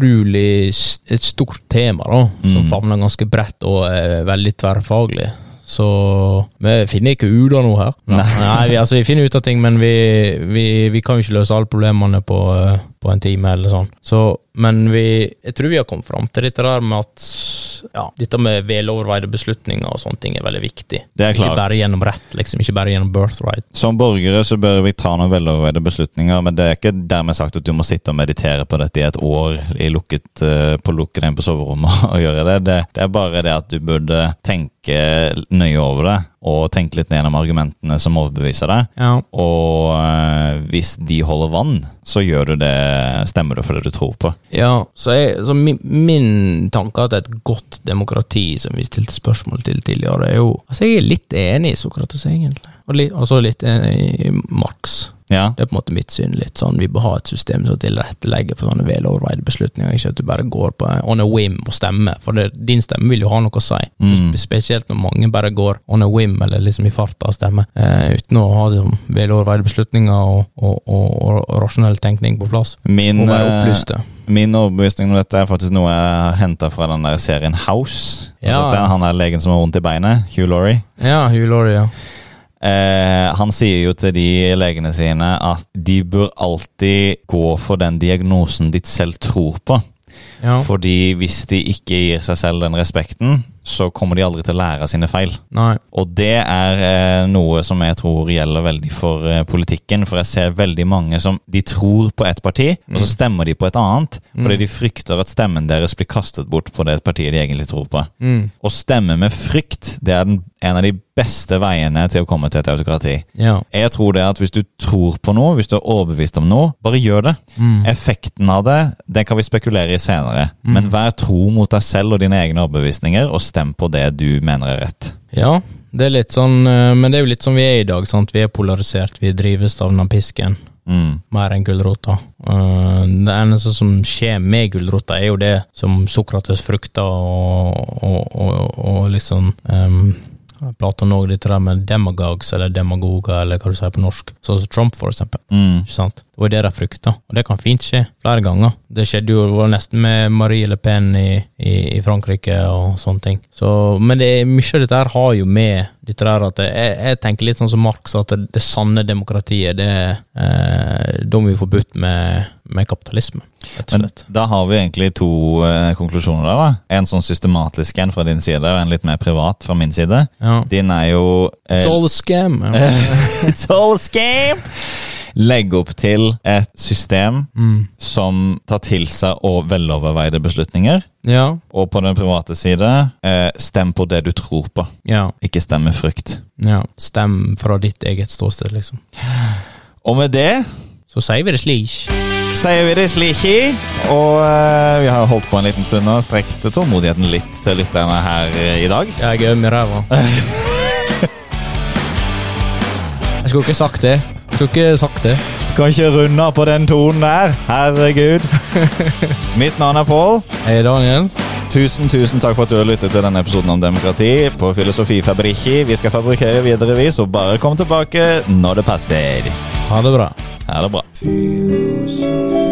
B: utrolig s- et stort tema, da, som
A: Mm.
B: favner ganske bredt og er veldig tverrfaglig. Så vi finner ikke ut av noe her. Nei, vi, altså, vi finner ut av ting, men vi, vi, vi kan jo ikke løse alle problemene på, eh, på en time eller sånn. Så, men vi, jeg tror vi har kommet fram til dette der med at ja, dette med veloverveide beslutninger og sånne ting er veldig viktig.
A: Det er klart.
B: Ikke bare gjennom rett, liksom. Ikke bare gjennom birthright.
A: Som borgere så bør vi ta noen veloverveide beslutninger, men det er ikke dermed sagt at du må sitte og meditere på dette i et år i lukket, eh, på lukket inn på soverommet *laughs* og gjøre det. det. Det er bare det at du burde tenke nøye over det, og tenke litt gjennom argumentene som overbeviser deg.
B: Ja.
A: Og eh, hvis de holder vann, så gjør du det, stemmer du for det du tror på.
B: Ja, så, jeg, så min, min tanke er at et godt demokrati, som vi stilte spørsmål til tidligere, er jo Altså, jeg er litt enig i Sokrates, egentlig. Og li, altså litt enig i Marx.
A: Ja.
B: Det er på en måte mitt syn. litt sånn, Vi bør ha et system som tilrettelegger for sånne veloverveide beslutninger. Ikke at du bare går på eh, on a whim og stemmer, for det, din stemme vil jo ha noe å si.
A: Mm.
B: Sp- Spesielt når mange bare går on a whim, eller liksom i farta og stemmer, eh, uten å ha liksom, veloverveide beslutninger og, og, og, og rasjonell tenkning på plass.
A: Min,
B: og være
A: eh,
B: opplyste.
A: Min overbevisning om dette er faktisk noe jeg har henta fra den der serien House.
B: Ja.
A: Altså, det er han der legen som har vondt i beinet, Hugh Laurie.
B: Ja, Hugh Laurie, ja.
A: Eh, han sier jo til de legene sine at de bør alltid gå for den diagnosen de selv tror på.
B: ja.
A: Fordi hvis de ikke gir seg selv den respekten, så kommer de aldri til å lære av sine feil.
B: Nei.
A: Og det er eh, noe som jeg tror gjelder veldig for eh, politikken. For jeg ser veldig mange som de tror på ett parti, og så stemmer de på et annet. Fordi
B: Mm.
A: de frykter at stemmen deres blir kastet bort på det partiet de egentlig tror på.
B: Mm.
A: Å stemme med frykt det er den, en av de beste veiene til å komme til et autokrati.
B: Ja.
A: Jeg tror det at Hvis du tror på noe, hvis du er overbevist om noe, bare gjør det.
B: Mm.
A: Effekten av det det kan vi spekulere i senere. Men vær tro mot deg selv og dine egne overbevisninger, og stem på det du mener er rett.
B: Ja, det er litt sånn, eh, men det er jo litt som vi er i dag, sant. Vi er polarisert, vi drives av den pisken.
A: Mm.
B: Mer enn gulrota. Eh, Det eneste som skjer med gulrota, er jo det som Sokrates frykta, og, og, og, og liksom ehm, Platon òg, dette der med demagogs, eller demagoger, eller hva du sier på norsk. Sånn som Trump, for eksempel.
A: Mm.
B: Ikke sant? Det var det de frykta, og det kan fint skje flere ganger. Det skjedde jo det var nesten med Marie Le Pen i, i, i Frankrike og sånne ting. Så, men det, er- mye av dette her har jo med dette der at det- jeg, jeg tenker litt sånn som Marx, at det, det sanne demokratiet, det eh, da må vi forbudt med, med kapitalisme, rett og
A: Men
B: slett.
A: da har vi egentlig to eh, konklusjoner der. da. En sånn systematisk en fra din side, og en litt mer privat fra min side.
B: Ja.
A: Din er jo eh, *laughs*
B: It's all a scam. Ja.
A: It's all a scam! Legg opp til et system
B: Mm.
A: som tar til seg og veloverveide beslutninger.
B: ja.
A: Og på den private side, eh, stem på det du tror på.
B: Ja.
A: Ikke stem med frykt.
B: Ja. Stem fra ditt eget ståsted, liksom.
A: Og med det
B: Så sier vi det slik.
A: sier vi det sliki. Og eh, vi har holdt på en liten stund og strekt tålmodigheten litt til lytterne her eh, i dag.
B: Jeg er øm i ræva. Jeg skulle ikke sagt det. Jeg skulle ikke sagt det.
A: Kan ikke runde av på den tonen der. Herregud. Mitt navn er Pål.
B: Hei, Daniel.
A: Tusen tusen takk for at du har lyttet til denne episoden om demokrati på Filosofi Fabrikki. Vi skal fabrikkere videre, vi, så bare kom tilbake når det passer.
B: Ha det bra.
A: Ha det bra.
C: Filosofi.